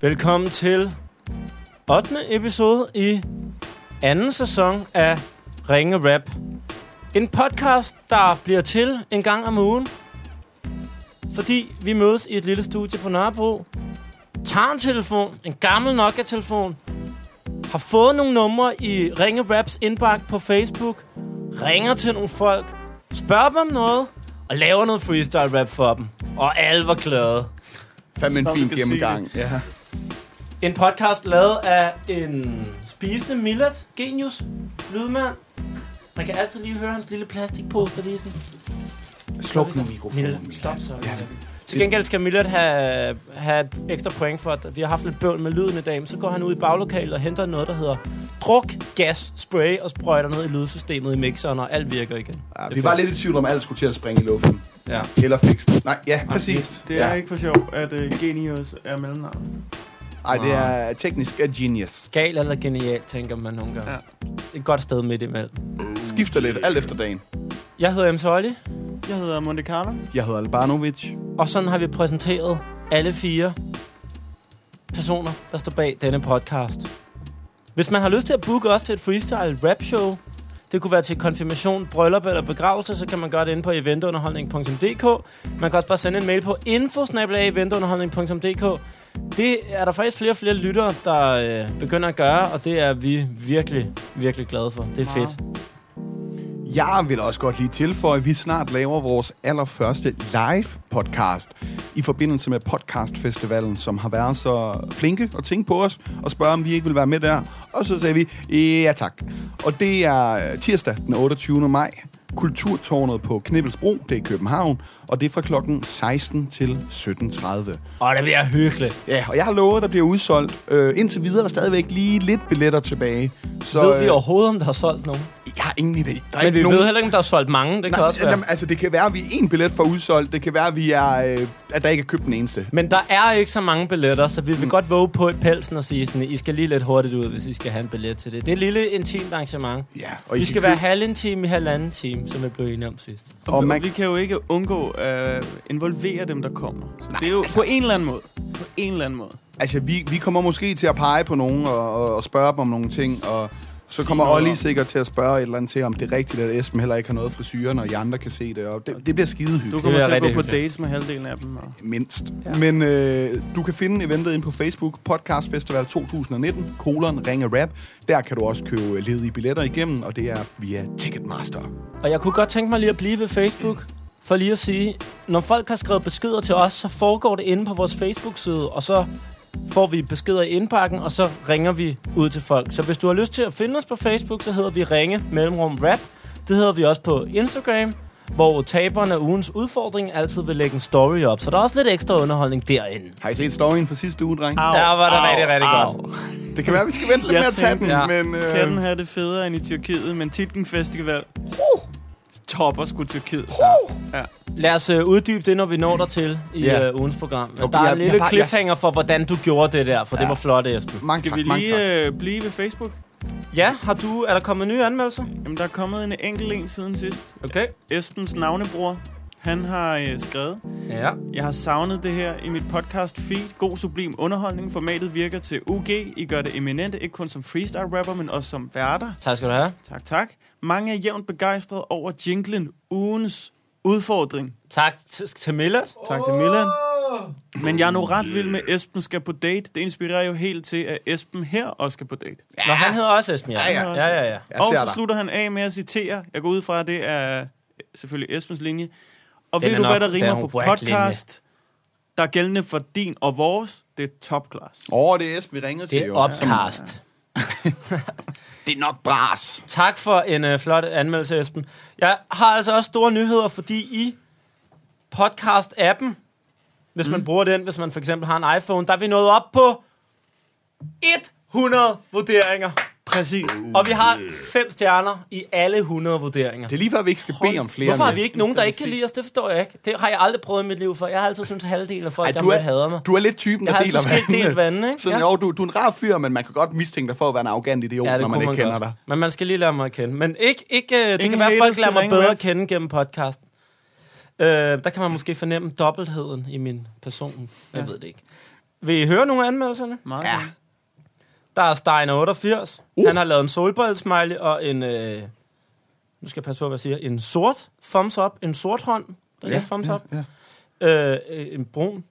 Velkommen til 8. episode i anden sæson af Ringe Rap. En podcast, der bliver til en gang om ugen. Fordi vi mødes i et lille studie på Nørrebro. Tager en telefon, en gammel Nokia-telefon. Har fået nogle numre i Ringe Raps indbakke på Facebook. Ringer til nogle folk. Spørger dem om noget. Og laver noget freestyle rap for dem. Og alle var glade. Fandme en Som fin vi kan se gennemgang. Ja. En podcast lavet af en spisende millet, genius, lydmand. Man kan altid lige høre hans lille plastikpose, der lige er sådan... Sluk nu mikrofonen. Millet, stop så. Ja. Til gengæld skal Millet have, have et ekstra point for, at vi har haft lidt bøvl med lyden i dag, men så går han ud i baglokalet og henter noget, der hedder druk, gas, spray og sprøjter ned i lydsystemet i mixeren, og alt virker igen. Ja, Det er vi var fedt. lidt i tvivl om, alt skulle til at springe i luften. Ja. Eller fikse den. Nej, ja, præcis. Det er ja. ikke for sjov, at uh, Genius er mellemnavn. Ej, det er teknisk er genius. Ah. Gal eller genial, tænker man nogle gange. Ja. Ja. Et godt sted midt imellem. Skifter lidt, alt efter dagen. Jeg hedder M. Solly, Jeg hedder Monte Carlo. Jeg hedder Albanovic. og sådan har vi præsenteret alle fire personer, der står bag denne podcast. Hvis man har lyst til at booke os til et freestyle rap show, det kunne være til konfirmation, bryllup eller begravelse, så kan man gøre det inde på eventunderholdning.dk. Man kan også bare sende en mail på infosnabelageventunderholdning.dk. Det er der faktisk flere og flere lyttere, der øh, begynder at gøre, og det er vi virkelig, virkelig glade for. Det er Meget. fedt. Jeg vil også godt lige tilføje, at vi snart laver vores allerførste live podcast i forbindelse med podcastfestivalen, som har været så flinke at tænke på os og spørge, om vi ikke vil være med der. Og så sagde vi, ja tak. Og det er øh, tirsdag den 28. maj. Kulturtårnet på Knibbelsbro, det er i København, og det er fra klokken 16 til 17.30. Og det bliver hyggeligt. Ja, og jeg har lovet, at der bliver udsolgt. Øh, indtil videre er der stadigvæk lige lidt billetter tilbage. Så Ved vi øh, overhovedet, om der har solgt nogen? jeg har ingen idé. Der er Men ikke vi nogen... ved heller ikke, om der er solgt mange. Det kan også være. Jamen, altså, det kan være, at vi er en billet for udsolgt. Det kan være, at, vi er, øh, at der ikke er købt den eneste. Men der er ikke så mange billetter, så vi vil mm. godt våge på i pelsen og sige sådan, I skal lige lidt hurtigt ud, hvis I skal have en billet til det. Det er et lille intimt arrangement. Ja, Og og vi I skal være halvanden time i halvanden time, som vi blev enige om sidst. Og, Og og man- man... vi kan jo ikke undgå at involvere dem, der kommer. Så det er jo altså... på en eller anden måde. På en eller anden måde. Altså, vi, vi kommer måske til at pege på nogen og, og, og spørge dem om nogle ting, og så Sig kommer noget Olli om- sikkert til at spørge et eller andet til, om det er rigtigt, at Esben heller ikke har noget frisyrer, når I andre kan se det. Og det, det bliver skide Du hyggeligt. bliver kommer til at gå rigtig på hyggeligt. dates med halvdelen af dem. Og... Mindst. Ja. Men øh, du kan finde eventet ind på Facebook, Podcast Festival 2019, kolon Ringe Rap. Der kan du også købe øh, ledige billetter igennem, og det er via Ticketmaster. Og jeg kunne godt tænke mig lige at blive ved Facebook, for lige at sige, når folk har skrevet beskeder til os, så foregår det inde på vores Facebook-side, og så får vi beskeder i indpakken, og så ringer vi ud til folk. Så hvis du har lyst til at finde os på Facebook, så hedder vi Ringe Mellemrum Rap. Det hedder vi også på Instagram, hvor taberen af ugens udfordring altid vil lægge en story op. Så der er også lidt ekstra underholdning derinde. Har I set storyen fra sidste uge, dreng? Au, Der var det rigtig, rigtig godt. Det kan være, vi skal vente lidt Jeg med at tage den, tænkte, ja. men... øh, Kan den have det federe end i Tyrkiet, men Titken Festival uh. topper sgu Tyrkiet. Ja. Lad os øh, uddybe det, når vi når dertil i Ja. øh, ugens program. Men Okay, der er jeg- en lille jeg- jeg- cliffhanger for, hvordan du gjorde det der, for det Ja. var flot, Esben. Mange Skal tak, vi mange tak. lige øh, blive ved Facebook? Ja, har du, er der kommet nye anmeldelser? Jamen, der er kommet en enkelt en siden sidst. Okay. Esbens navnebror, han har øh, skrevet, Ja. Jeg har savnet det her i mit podcast feed. God sublim underholdning. Formatet virker til UG. I gør det eminente, ikke kun som freestyle rapper, men også som værter. Tak skal du have. Tak, tak. Mange er jævnt begejstrede over jinglen ugens udfordring. Tak t- til Millet. Tak til Milan. Men jeg er nu ret vild med, at Esben skal på date. Det inspirerer jo helt til, at Esben her også skal på date. Ja. Nå, han hedder også Esben, ja. Ja, ja. ja, ja, ja. Jeg Og ser så dig. slutter han af med at citere. Jeg går ud fra, at det er øh, selvfølgelig Esbens linje. Og Den ved er du, nok- hvad der den er rimer en på whack-linje. podcast? Der er gældende for din og vores. Det er top class. Åh, det er Esben, vi ringede Det til, er jo. opcast. Det er nok bras. Tak for en øh, flot anmeldelse, Esben. Jeg har altså også store nyheder, fordi i podcast-appen, hvis Mm. man bruger den, hvis man for eksempel har en iPhone, der er vi nået op på 100 vurderinger. Præcis. Og vi har fem stjerner i alle 100 vurderinger. Det er lige før, vi ikke skal bede om flere. Hvorfor har nu. vi ikke en nogen, der ikke kan statistik. lide os? Det forstår jeg ikke. Det har jeg aldrig prøvet i mit liv, for jeg har altid syntes, at halvdelen af folk, Ej, der du, måtte hader er, mig. du er lidt typen, Jeg der har deler altså skilt delt vandene, ikke? Sådan, Ja. jo, du, du er en rar fyr, men man kan godt mistænke dig for at være en arrogant idiot, når man kunne ikke kender godt. dig. Men man skal lige lære mig at kende. Men ikke, ikke, øh, det Ingen kan være, at folk haters lærer til mig Ringe bedre Rap. at kende gennem podcasten. Øh, der kan man måske fornemme dobbeltheden i min person. Jeg ved det ikke. Vil I høre nogle af anmeldelserne? Meget Ja. ja. Der er Steiner 88. Uh. Uh. Han har lavet en solbrillesmiley og en... Øh, nu skal jeg passe på, hvad jeg siger. En sort thumbs up. En sort hånd. Der ja, er thumbs up. ja. Øh, øh, en brun.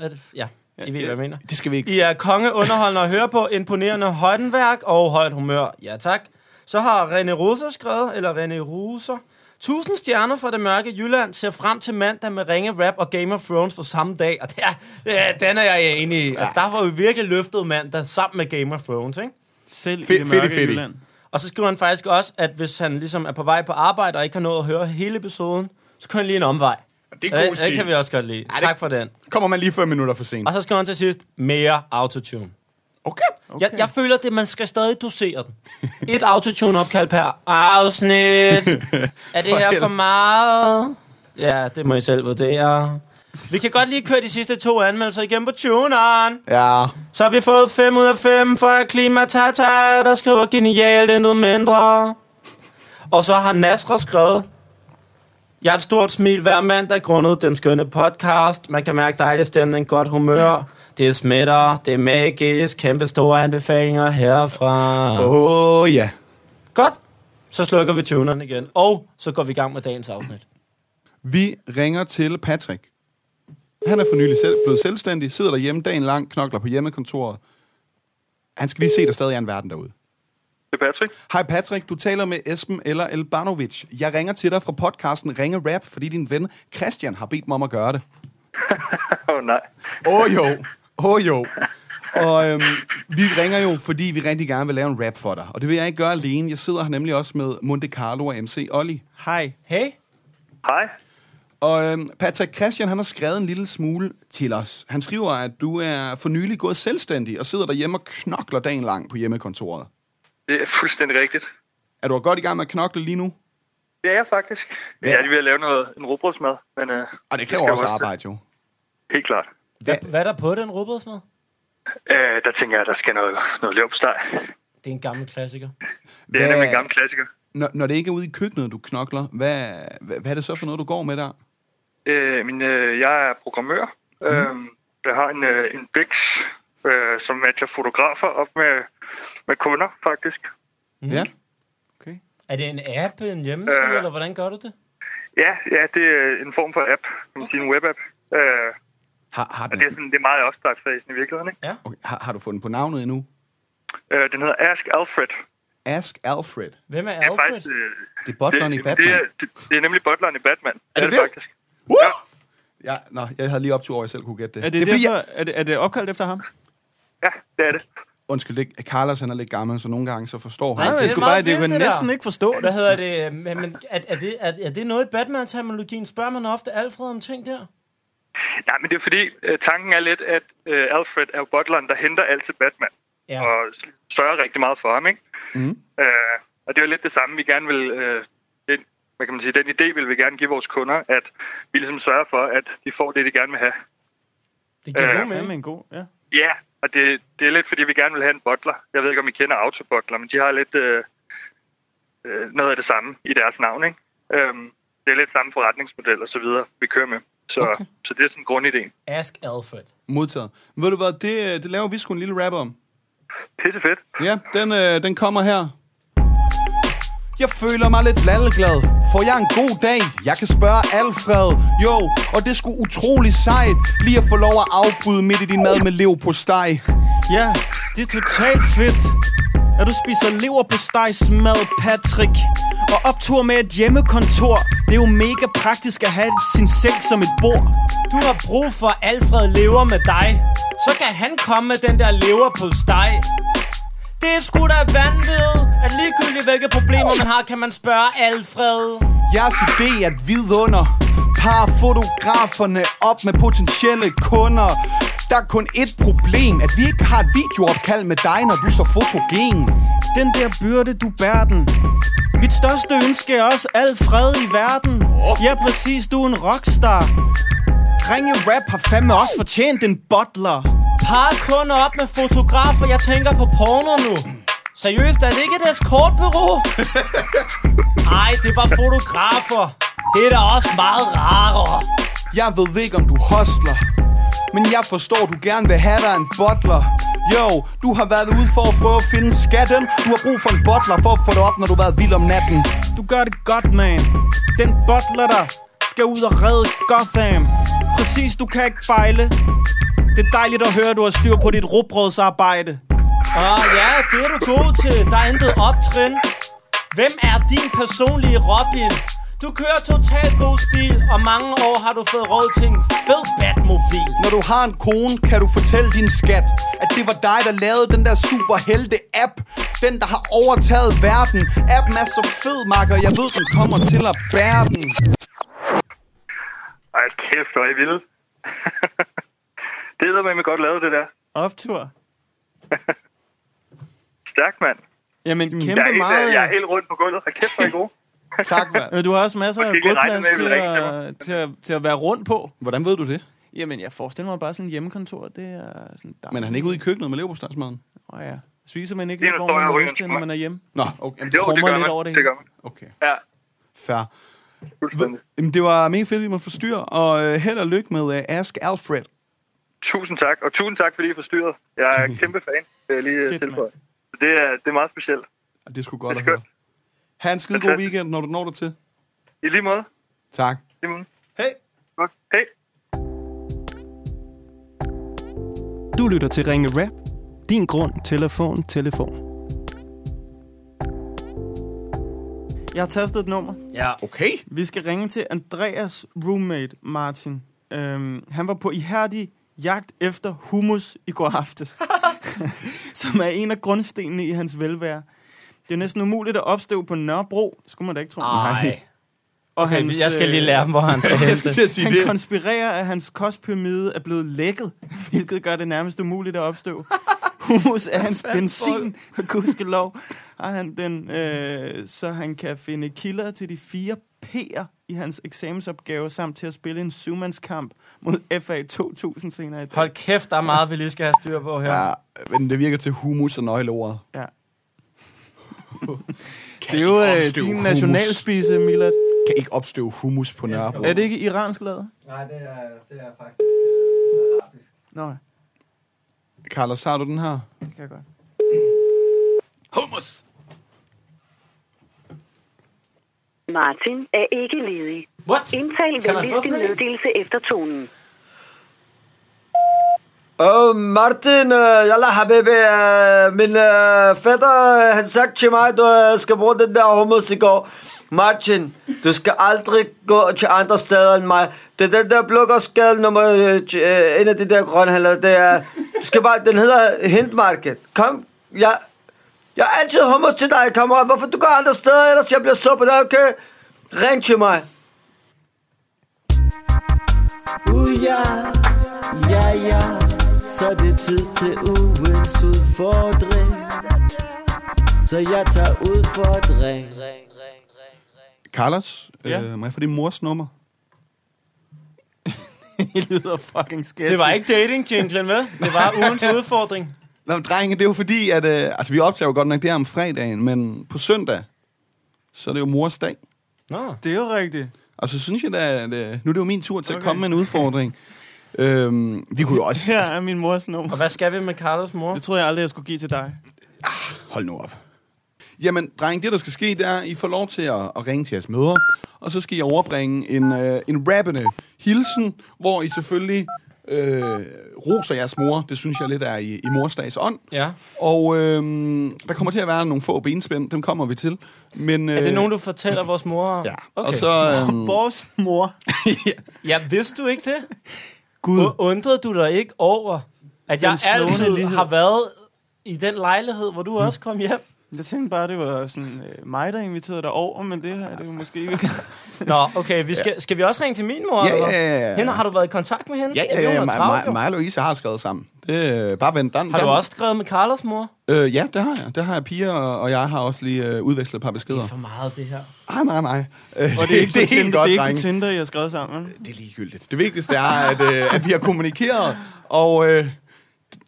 Er det? Ja, Ja, I ved, hvad ja. jeg mener. Det skal vi ikke. I er konge, underholdende at høre på, imponerende højdenværk og højt humør. Ja, tak. Så har René Russer skrevet, eller René Russer, Tusind stjerner fra det mørke Jylland ser frem til mandag med ringe rap og Game of Thrones på samme dag. Og det er, det er- den er jeg enig i. Altså, der var vi virkelig løftet mandag sammen med Game of Thrones, ikke? Selv Fedt, i det fedt, mørke fedt. Jylland. Og så skriver han faktisk også, at hvis han ligesom er på vej på arbejde og ikke har nået at høre hele episoden, så kører han lige en omvej. Det er god Det, det stil. kan vi også godt lide. det- Tak for den. Kommer man lige 5 minutter for sent. Og så skriver han til sidst, mere autotune. Okay. Okay. Jeg, jeg føler, at man skal stadig dosere den. Et autotune-opkald per afsnit. Er det her for meget? Ja, det må I selv vurdere. Vi kan godt lige køre de sidste to anmeldelser igen på tuneren. Ja. Så har vi fået 5 ud af 5 fra Klimatata, der skriver genialt intet mindre. Og så har Nasra skrevet, jeg har et stort smil hver mandag grundet den skønne podcast. Man kan mærke dejlig stemning, godt humør. Det smitter, det er magisk, kæmpe store anbefalinger herfra. Oh. Åh, oh, ja. Godt, så slukker vi tuneren igen. Og så går vi i gang med dagens afsnit. Vi ringer til Patrick. Han er for nylig selv, blevet selvstændig, sidder derhjemme dagen lang, knokler på hjemmekontoret. Han skal lige se, der stadig er en verden derude. Det er Patrick. Hej Patrick, du taler med Esben eller Elbanovic. Jeg ringer til dig fra podcasten Ringe Rap, fordi din ven Christian har bedt mig om at gøre det. Åh oh, nej. Åh oh, jo, åh oh, jo. Og øhm, vi ringer jo, fordi vi rigtig gerne vil lave en rap for dig. Og det vil jeg ikke gøre alene. Jeg sidder her nemlig også med Monte Carlo og MC Olli. Hej. Hey, Hej. Og øhm, Patrick Christian, han har skrevet en lille smule til os. Han skriver, at du er for nylig gået selvstændig og sidder derhjemme og knokler dagen lang på hjemmekontoret. Det er fuldstændig rigtigt. Er du godt i gang med at knokle lige nu? Det er jeg faktisk. Ja. Jeg er lige ved at lave noget, en råbrødsmad, men øh, Og det skal kræver jo også også til. arbejde, jo. helt klart. hvad, hvad er der på den rugbrødsmad? Øh, der tænker jeg, at der skal noget, noget løbsteg. Det er en gammel klassiker. Det er Hvad- nemlig en gammel klassiker. Når, når det ikke er ude i køkkenet, du knokler, hvad, hvad, hvad er det så for noget, du går med der? Øh, min, øh, jeg er programmør. Mm. Øh, jeg har en, øh, en Bix, øh, som matcher fotografer op med, med kunder, faktisk. Mm. Ja? Okay. Er det en app, en hjemmeside, Øh. eller hvordan gør du det? Ja, ja, det er en form for app, kan man sige, en webapp. Øh, Har, har, og den, det er, sådan, det er meget i opstartsfasen i virkeligheden. Ikke? okay, har, har du fundet på navnet endnu? Øh, den hedder Ask Alfred. Ask Alfred. Hvem er Det er Alfred? faktisk... Øh, Det er butleren i det, Batman. Det er, det, det er nemlig butleren i Batman. Er det det det? faktisk. Woo! Ja. Ja, nå, jeg havde lige op til over, jeg selv kunne gætte det. Er det, er fordi, derfor, jeg... er, det, er det opkaldt efter ham? Ja, det er det. Undskyld, det, er- Carlos han er lidt gammel, så nogle gange så forstår han. Nej, ikke. men- Jeg det skulle er bare, meget det fedt, kunne jeg det der. næsten ikke forstå. Hvad hedder det? øh, Men, men er, er, det er, er det noget i Batman-terminologien? Spørger man ofte Alfred om ting der? Nej, men det er fordi, øh, tanken er lidt, at øh, Alfred er jo butleren, der henter alt til Batman. Ja. Og sørger rigtig meget for ham, ikke? Mm. Øh, og det er jo lidt det samme, vi gerne vil... Øh, den, hvad kan man sige, den idé vil vi gerne give vores kunder, at vi ligesom sørger for, at de får det, de gerne vil have. Det giver Øh, god Det er mening. en god, ja. Ja, og det, det er lidt, fordi vi gerne vil have en butler. Jeg ved ikke, om I kender Autobutler, men de har lidt øh, øh, noget af det samme i deres navn, ikke? Øhm, det er lidt samme forretningsmodel og så videre, vi kører med. Så, okay. så det er sådan grundidéen. Ask Alfred. Modtaget. Men ved du hvad, det, det laver vi sgu en lille rap om. Pisse fedt. Ja, den, øh, den kommer her. Jeg føler mig lidt lalleglad. Får jeg en god dag? Jeg kan spørge Alfred. Jo, og det er sgu utrolig sejt. Lige at få lov at afbryde midt i din mad med lev på steg. Ja, det er totalt fedt. At du spiser lever på stegsmad, Patrick. Og optur med et hjemmekontor. Det er jo mega praktisk at have sin seng som et bord. Du har brug for Alfred lever med dig. Så kan han komme med den der lever på steg. Det er sgu da vanvittigt, at ligegyldigt hvilke problemer man har, kan man spørge Alfred. Jeres idé er et vidunder Par fotograferne op med potentielle kunder Der er kun ét problem At vi ikke har et videoopkald med dig, når du er så fotogen Den der byrde, du bærer den. Mit største ønske er også al fred i verden. Ja, præcis, du er en rockstar. Kringe Rap har fandme også fortjent en butler. Par kunder op med fotografer, jeg tænker på porno nu. Seriøst, er det ikke et escortbureau? Ej, det var fotografer. Det er da også meget rarere. Jeg ved ikke, om du hostler Men jeg forstår, du gerne vil have dig en butler Jo, du har været ude for at prøve at finde skatten Du har brug for en butler for at få dig op, når du har været vild om natten Du gør det godt, man. Den butler der skal ud og redde Gotham. Præcis, du kan ikke fejle. Det er dejligt at høre, at du har styr på dit rugbrødsarbejde. Og ja, det er du god til. Der er intet optrin. Hvem er din personlige Robin? Du kører totalt god stil, og mange år har du fået råd til en fed Batmobil. Når du har en kone, kan du fortælle din skat, at det var dig, der lavede den der superhelte-app. Den, der har overtaget verden. Appen er så fed, makker. Jeg ved, den kommer til at bære den. Ej, altså, kæft, hvor er I vilde. det er med godt lavet, det der. Optur. Stærk, mand. Jamen, kæmpe Jeg er, helt, meget. øh, jeg er helt rundt på gulvet. Hold kæft, hvor er I gode. Tak, mand. Men Øh, du har også masser af Måske ikke regnet godplads med, at til, vi ringte til at, til, at, til at være rundt på. Hvordan ved du det? Jamen, jeg forestiller mig bare sådan et hjemmekontor. Det er sådan dejligt. Men er han ikke ude i køkkenet med leverpostejsmaden? Åh ja. Spiser man ikke Det er, lidt, når hvor man jeg har ryger lyst en til, når smøg. man er hjemme? Nå, okay. Jo, det krummer gør lidt man. over det det hele. gør man. okay. Ja, Fair. fuldstændig. Jamen, det var mega fedt, at vi måtte forstyrre, og øh, held og lykke med øh, Ask Alfred. Tusind tak, og tusind tak, fordi I forstyrrede. Jeg er kæmpe fan, vil jeg lige Fedt, Fedt, tilføje. Så Det er, det er meget specielt. Og det skulle godt Det at er høre. Ha' en skide god Fantastisk. weekend, når du når dig til. I lige måde, Tak. i morgen. Hej. Godt. Hej. Du lytter til Ringe Rap. Din grund, telefon, telefon. Jeg har tastet et nummer. Ja. Okay. Vi skal ringe til Andreas roommate, Martin. Øhm, han var på ihærdig jagt efter hummus i går aftes, som er en af grundstenene i hans velvære. Det er næsten umuligt at opstøve på Nørrebro, det skulle man da ikke tro. Nej. Og Okay, jeg skal lige lære øh, ham, hvor han skal Jeg skal hente. til at sige Han det. konspirerer, at hans kostpyramide er blevet lækket, hvilket gør det nærmest umuligt at opstøve. Hummus er hans benzin, og gudskelov har han den, øh, så han kan finde kilder til de fire P'er i hans eksamensopgave, samt til at spille en syvmandskamp mod FA 2000 senere i dag. Hold kæft, der er meget, vi lige skal have styr på her. Ja, men det virker til humus og nøgleordet. Ja. Det er jo øh, opstøve din hummus. nationalspise, Milad. Kan ikke opstøve humus på Nørrebro. Er det ikke iransk lavet? Nej, det er, det er faktisk øh, arabisk. Nå, Carlos, har du den her? det kan jeg godt. Humus! Martin er ikke ledig. What? Indtal Kan man få venligst din sådan en? meddelelse efter tonen. Åh, Martin, øh, jalla habibi, øh, min øh, fætter, øh, han sagde til mig, du øh, skal bruge den der hummus i går. Martin, du skal aldrig gå til andre steder end mig. Det er den der blokkerskade nummer, øh, t- øh, en af de der grønhandler, det er, du skal bare, den hedder Hindmarket. Kom, jeg, jeg har altid hummus til dig, kammerat. Hvorfor du går andre steder, ellers jeg bliver sur på dig, okay? Ring til mig. Uh, ja, ja, ja, så det er tid til ugens udfordring. Så jeg tager ud for et ring. Carlos, Ja. ja. øh, må jeg få din mors nummer? Det lyder fucking sketchy. Det var ikke dating jinglen vel? Det var ugens udfordring. Nå, men drenge, det er jo fordi, at... Øh, altså, vi optager jo godt nok det her om fredagen, men på søndag, så er det jo mors dag. Nå. Det er jo rigtigt. Og så synes jeg da, at øh, nu er det jo min tur til okay. at komme med en udfordring. øhm, vi kunne jo også... Her er min mors nummer. Og hvad skal vi med Carlos mor? Det troede jeg aldrig, jeg skulle give til dig. Ah, Hold nu op. Jamen, dreng, det der skal ske, det er, at I får lov til at, at ringe til jeres mødre, og så skal I overbringe en, øh, en rappende hilsen, hvor I selvfølgelig øh, roser jeres mor. Det synes jeg lidt er i, i morsdags ånd. Ja. Og øh, der kommer til at være nogle få benspænd, dem kommer vi til. Men, øh, Er det nogen, du fortæller vores mor om? Ja, okay. Okay. og så... Øh, Vores mor. Ja, vidste du ikke det? Gud. Undrede du dig ikke over, at jeg slående altid lighed. har været i den lejlighed, hvor du også kom hjem? Mm. Jeg tænkte bare, det var sådan, øh, mig, der inviterede dig over, men det her det er jo måske ikke. Nå, okay, vi skal, skal vi også ringe til min mor? Ja, eller ja, ja, hvad? ja. Hende, har du været i kontakt med hende? ja, ja, Er ja, det ja. under Mig, travlt, mig, jo? mig og Louise har skrevet sammen. Det, øh, bare vent. Der, Har du der, også skrevet med Carlos mor? Øh, ja, det har jeg. Det har jeg. Pia og, og jeg har også lige øh, udvekslet et par beskeder. For meget, det her. Ej, nej, nej. Øh, Og det er ikke, det er Tinder, det er ikke drenge. på Tinder, jeg har skrevet sammen. vel? det er ligegyldigt. Det vigtigste er, at, øh, at vi har kommunikeret, og øh,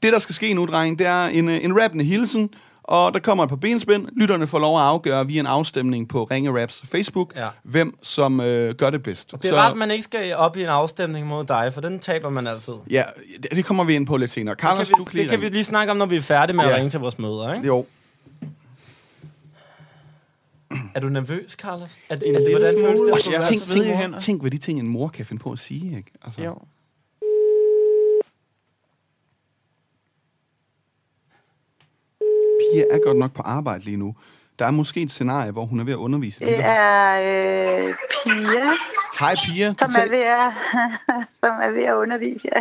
det, der skal ske nu, dreng, det er en, øh, en rappende hilsen, Og der kommer et par benspænd. Lytterne får lov at afgøre via en afstemning på Ringe Raps Facebook, Ja. hvem som øh, gør det bedst. Det er rart, man ikke skal op i en afstemning mod dig, for den taber man altid. Det Ja, det, det kommer vi ind på lidt senere. kan, Carlos, vi, du kan det lige kan vi lige snakke om, når vi er færdige med ja. Ja. at ringe til vores møder. Ikke? Jo. Er du nervøs, Carlos? Er, er Altså, det, Altså, hvordan føles det? at Jeg være Tænk, så svedige tænk, hænder. tænk, hvad de ting, en mor kan finde på at sige. Ikke? Altså, Jo. Pia er godt nok på arbejde lige nu. Der er måske et scenarie, hvor hun er ved at undervise. Det Ja. er øh, Pia, Hej Pia, du som er, tal- ved at, som er ved at undervise. Ja.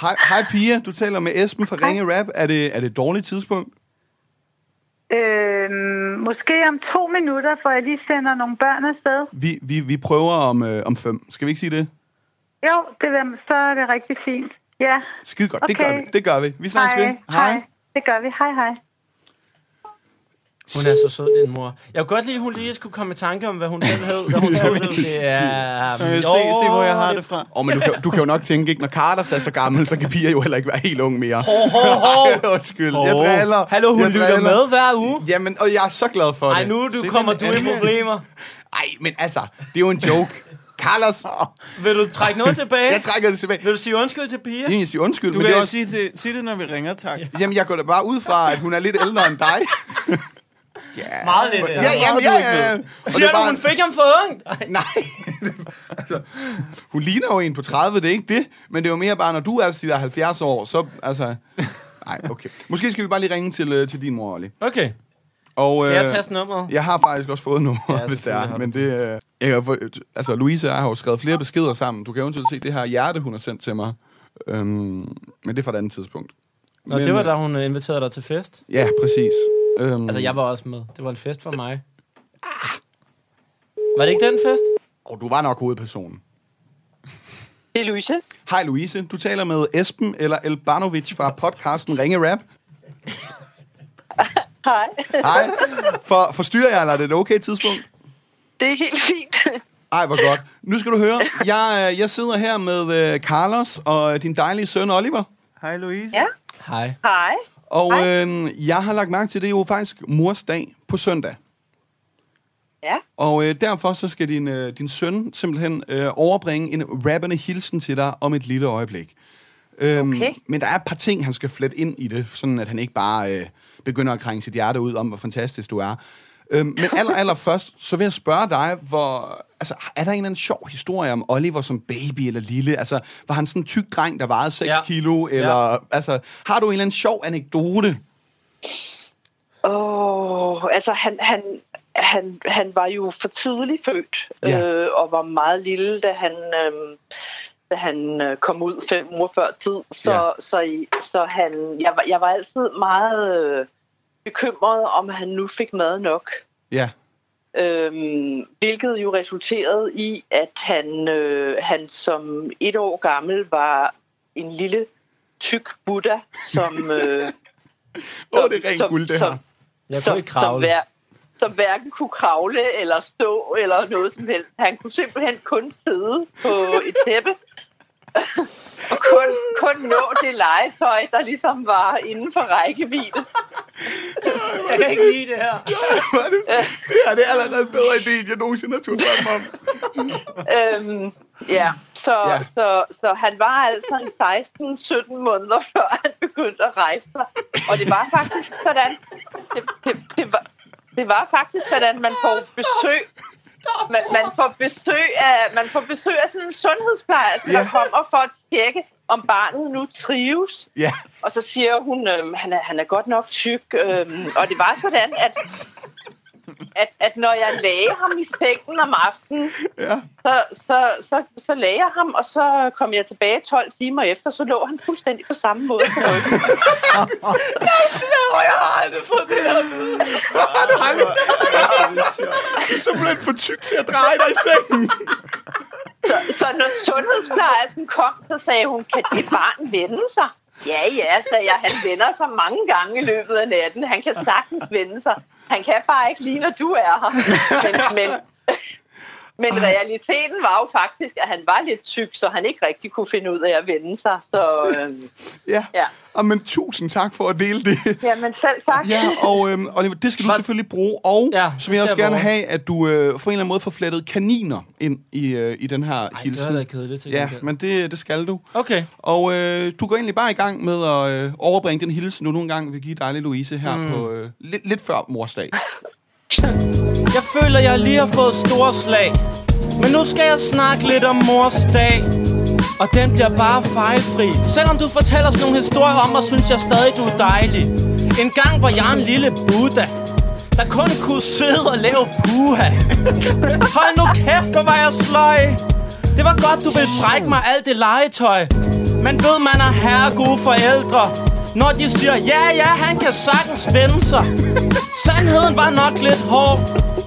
hej, hej Pia, du taler med Esben fra Ringe Rap. Er det, er det et dårligt tidspunkt? Øh, måske om to minutter, for jeg lige sender nogle børn afsted. Vi, vi, vi prøver om, øh, om fem. Skal vi ikke sige det? Jo, det, vil- så er det rigtig fint. Ja, Skide godt, det Okay. gør vi. Det gør vi. Vi snakkes ved. hej. Det gør vi. Hej, hej. Hun er så sød, din mor. Jeg kunne godt lide, at hun lige skulle komme i tanke om, hvad hun selv hed, hvad hun selv hed. Det er... Øh, se, se, hvor jeg har det fra. Åh, oh, men du kan, du kan jo nok tænke, ikke? når Carter er så gammel, så kan piger jo heller ikke være helt unge mere. Hov, hov, hov. Ej, Undskyld, jeg Åh, driller. Hallo, hun jeg lytter driller. med hver uge. Jamen, og jeg er så glad for Ej, det. nu du kommer du i problemer. Ej, men altså, det er jo en joke. Carlos, Vil du trække noget tilbage? jeg trækker det tilbage. Vil du sige undskyld til Pia? Jeg vil sige undskyld, Du men kan det er jo også... sige det, sige det, når vi ringer, tak. Ja. Jamen, jeg går da bare ud fra, at hun er lidt ældre end dig. Meget lidt. Ja, jamen, ja, ja, ja. Og det er Siger du, bare- hun fik ham for ung? Nej. altså, hun ligner jo en på 30, det er ikke det. Men det er jo mere bare, når du er de der 70 år, så altså... Nej, okay. Måske skal vi bare lige ringe til, øh, til din mor, Olli. Okay, Og, skal jeg øh, taste nummeret? jeg har faktisk også fået nummer, ja, hvis det selvfølgelig er. har Men det, øh, jeg kan, få- altså, Louise og jeg har jo skrevet flere beskeder sammen. Du kan eventuelt se det her hjerte, hun har sendt til mig. Øhm, men det er fra et andet tidspunkt. Nå, men, det var øh, da hun øh, inviterede dig til fest. Ja, præcis. Øhm, Altså, jeg var også med. Det var en fest for mig. Var det ikke den fest? Og du var nok hovedpersonen. Det er Louise. Hej Louise, du taler med Esben eller Elbanovic fra podcasten Ringe Rap. Hej. Hej. For, forstyrrer jeg, eller er det et okay tidspunkt? Det er helt fint. Ej, hvor godt. Nu skal du høre, jeg, øh, jeg sidder her med øh, Carlos og øh, din dejlige søn Oliver. Hej, Louise. Ja. Hej. Hej. Og øh, jeg har lagt mærke til, det er jo faktisk mors dag på søndag. Ja. Og øh, derfor så skal din, øh, din søn simpelthen øh, overbringe en rappende hilsen til dig om et lille øjeblik. Øhm, Okay. Men der er et par ting, han skal flette ind i det, sådan at han ikke bare øh, begynder at krænge sit hjerte ud om, hvor fantastisk du er. Øhm, men aller, aller først, så vil jeg spørge dig, hvor, altså, er der en eller anden sjov historie om Oliver som baby eller lille? Altså, var han sådan en tyk dreng, der vejede 6 Ja. ja. kilo? Eller, ja. altså, har du en eller anden sjov anekdote? Åh, oh, altså han, han, han, han var jo for tidligt født, Ja. øh, og var meget lille, da han, øh, da han øh, kom ud fem uger før tid. Så, Ja. ja. så, i- så han, jeg, var, jeg var altid meget øh, bekymret, om han nu fik mad nok. Ja. Øhm, hvilket jo resulterede i, at han, øh, han som et år gammel var en lille tyk Buddha, som... Øh, Åh, det er rent guld, det her. som, Jeg kunne som, ikke som, kravle. hver, som hverken kunne kravle eller stå eller noget som helst. Han kunne simpelthen kun sidde på et tæppe og kun, kun nå det legetøj, der ligesom var inden for rækkevidde. Jeg kan ikke lide det her. Hvad er det? Det her det er allerede en bedre idé, end jeg nogensinde har turde drømme om. Øhm, ja, så, Ja. ja. Så, så han var altså i 16-17 måneder, før han begyndte at rejse sig. Og det var faktisk sådan, det, det, det, var, det var faktisk sådan, man får besøg man, man, får besøg af, man får besøg af sådan en sundhedsplejerske, ja. der kommer for at tjekke, om barnet nu trives. Ja. Og så siger hun, øhm, han, er, han er godt nok tyk. Øhm, og det var sådan, at, at, at når jeg lagde ham i sengen om aftenen, Ja. så, så, så, så lagde jeg ham, og så kom jeg tilbage 12 timer efter, så lå han fuldstændig på samme måde på ryggen. Og jeg har aldrig fået det her Har du aldrig? Du er simpelthen for tyk til at dreje dig i sengen. Så, så når sundhedsplejersken kom, så sagde hun, kan det barn vende sig? Ja, ja, sagde jeg. Han vender sig mange gange i løbet af natten. Han kan sagtens vende sig. Han kan bare ikke lige, når du er her. Men, men, Men realiteten var jo faktisk, at han var lidt tyk, så han ikke rigtig kunne finde ud af at vende sig. Så øhm, Ja. Ja. Og, Ah, men tusind tak for at dele det. jamen selv sagt. Ja, og øhm, Oliver, det skal du selvfølgelig bruge. Og ja, Ja, så vil jeg det også skal jeg gerne bruge. have, at du øh, for en eller anden måde får flettet kaniner ind i, øh, i den her Ej, Ej, det var hilsen. da kedeligt til ja, gengæld. men det, det skal du. Okay. Og øh, du går egentlig bare i gang med at øh, overbringe den hilsen, du nogle gange vil give dig Louise her mm. på øh, lidt, lidt før morsdag. Jeg føler, jeg lige har fået store slag. Men nu skal jeg snakke lidt om mors dag. Og den bliver bare fejlfri. Selvom du fortæller sådan nogle historier om mig, synes jeg stadig, du er dejlig. En gang var jeg en lille Buddha, der kun kunne sidde og lave puha. Hold nu kæft, hvor var jeg sløj. Det var godt, du ville brække mig alt det legetøj. Men ved man er herre gode forældre, når de siger, ja, ja, han kan sagtens vende sig. Sandheden var nok lidt hård,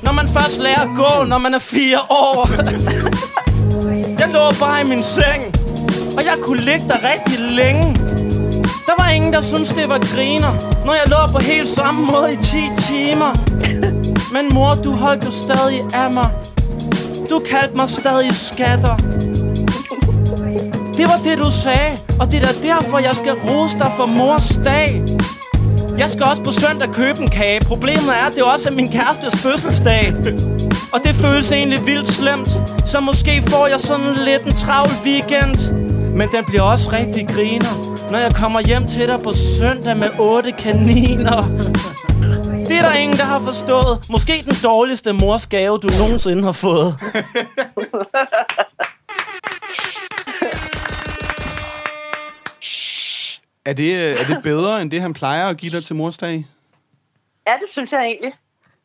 når man først lærer at gå, når man er fire år. Jeg lå bare i min seng, og jeg kunne ligge der rigtig længe. Der var ingen, der syntes, det var griner, når jeg lå på helt samme måde i 10 timer. Men mor, du holdt jo stadig af mig. Du kaldte mig stadig skatter. Det var det, du sagde, og det er da derfor, jeg skal rose dig for mors dag. Jeg skal også på søndag købe en kage. Problemet er, at det også er min kærestes fødselsdag. Og det føles egentlig vildt slemt, så måske får jeg sådan lidt en travl weekend. Men den bliver også rigtig griner, når jeg kommer hjem til dig på søndag med otte kaniner. Det er der ingen, der har forstået. Måske den dårligste mors gave, du nogensinde har fået. Er det, øh, er det bedre, end det han plejer at give dig til morsdag? Ja, det synes jeg egentlig.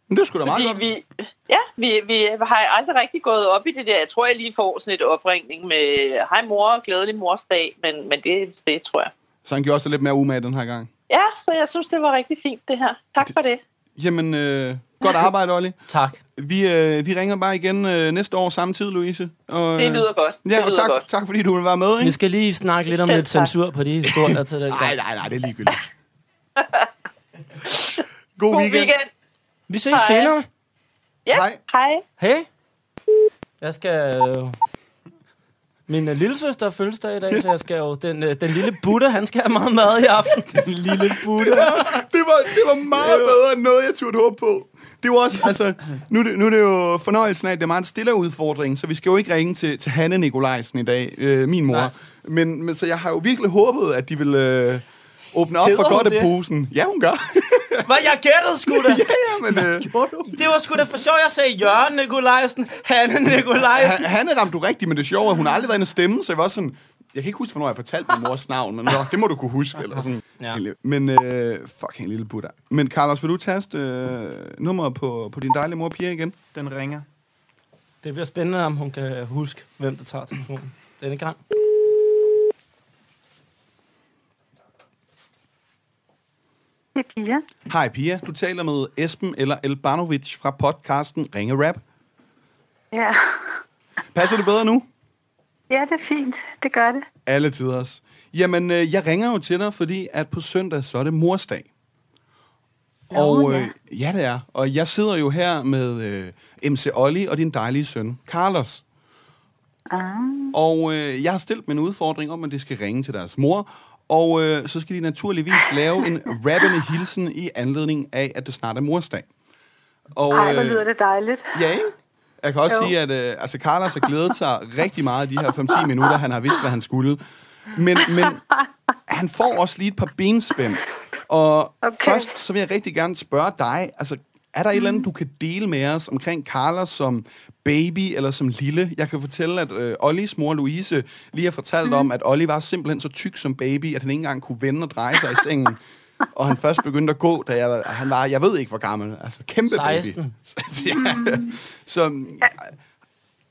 Men det skulle da meget Fordi godt. vi, ja, vi, vi har aldrig rigtig gået op i det der. Jeg tror, jeg lige får sådan et opringning med, hej mor, glædelig morsdag, men, men det, det tror jeg. Så han gjorde også lidt mere umage den her gang. Ja, så jeg synes, det var rigtig fint det her. Tak for det. Jamen, øh, godt arbejde, Olli. Tak. Vi, øh, vi ringer bare igen øh, næste år samme tid, Louise. Og, øh, Det lyder godt. Ja, det og lyder tak, godt. tak fordi du vil være med. Vi Ikke? skal lige snakke lidt om lidt censur på de historier til den Nej, gang. nej, nej, det er ligegyldigt. God, God weekend. Vi ses Hej. senere. Ja, Hej. hej. hej. Hey. Jeg skal... Øh, min øh, lillesøster har fødselsdag i dag, så jeg skal jo... Den, øh, den lille Buddha, han skal have meget mad i aften. Den lille Buddha. det, var, det var meget bedre end noget, jeg turde håbe på. Det var også, altså, nu, er det, nu er det jo fornøjelsen af, at det er meget en stille udfordring, så vi skal jo ikke ringe til, til Hanne Nikolajsen i dag, øh, min mor. Nej. Men, men, så jeg har jo virkelig håbet, at de vil øh, åbne op Hedder for hun godt det? posen. Ja, hun gør. Hvad, jeg gættede sgu da. ja, men, øh, Det var sgu da for sjovt, jeg sagde Jørgen Nikolajsen, Hanne Nikolajsen. Han- Hanne ramte du rigtigt, men det sjove er, at hun har aldrig været inde at stemme, så jeg var sådan... Jeg kan ikke huske, hvornår jeg fortalte min mors navn, men nå, det må du kunne huske. Eller sådan. Ja. Ja. Men øh, fucking lille Buddha. Men Carlos, vil du taste øh, nummeret på, på din dejlige mor Pia igen? Den ringer. Det bliver spændende, om hun kan huske, hvem der tager telefonen denne gang. Det er Pia. Hej Pia, du taler med Esben eller Elbanovic fra podcasten Ringe Rap. Ja. Passer det bedre nu? ja, det er fint. Det gør det. Alle tiders. Jamen, øh, jeg ringer jo til dig, fordi at på søndag, så er det morsdag. Og øh, ja, det er. Og jeg sidder jo her med øh, MC Olli og din dejlige søn, Carlos. Ah. Og øh, jeg har stillet min udfordring om, at de skal ringe til deres mor. Og øh, så skal de naturligvis lave en rappende hilsen i anledning af, at det snart er morsdag. Og, Ej, hvor øh, lyder det dejligt. Ja, ikke? Jeg kan også jo. Jo. sige, at øh, altså, Carlos har glædet sig rigtig meget i de her 5-10 minutter, han har vidst, hvad han skulle. Men, men han får også lige et par benspænd. Og okay. Okay. Mm. først så vil jeg rigtig gerne spørge dig, altså, er der et eller andet, du kan dele med os omkring Carlos som baby eller som lille? Jeg kan fortælle, at øh, Ollis mor Louise lige har fortalt mm. om, at Olli var simpelthen så tyk som baby, at han ikke engang kunne vende og dreje sig i sengen. Og han først begyndte at gå, da jeg, var- han var, jeg ved ikke hvor gammel, altså kæmpe baby. 16. Så, ja. Så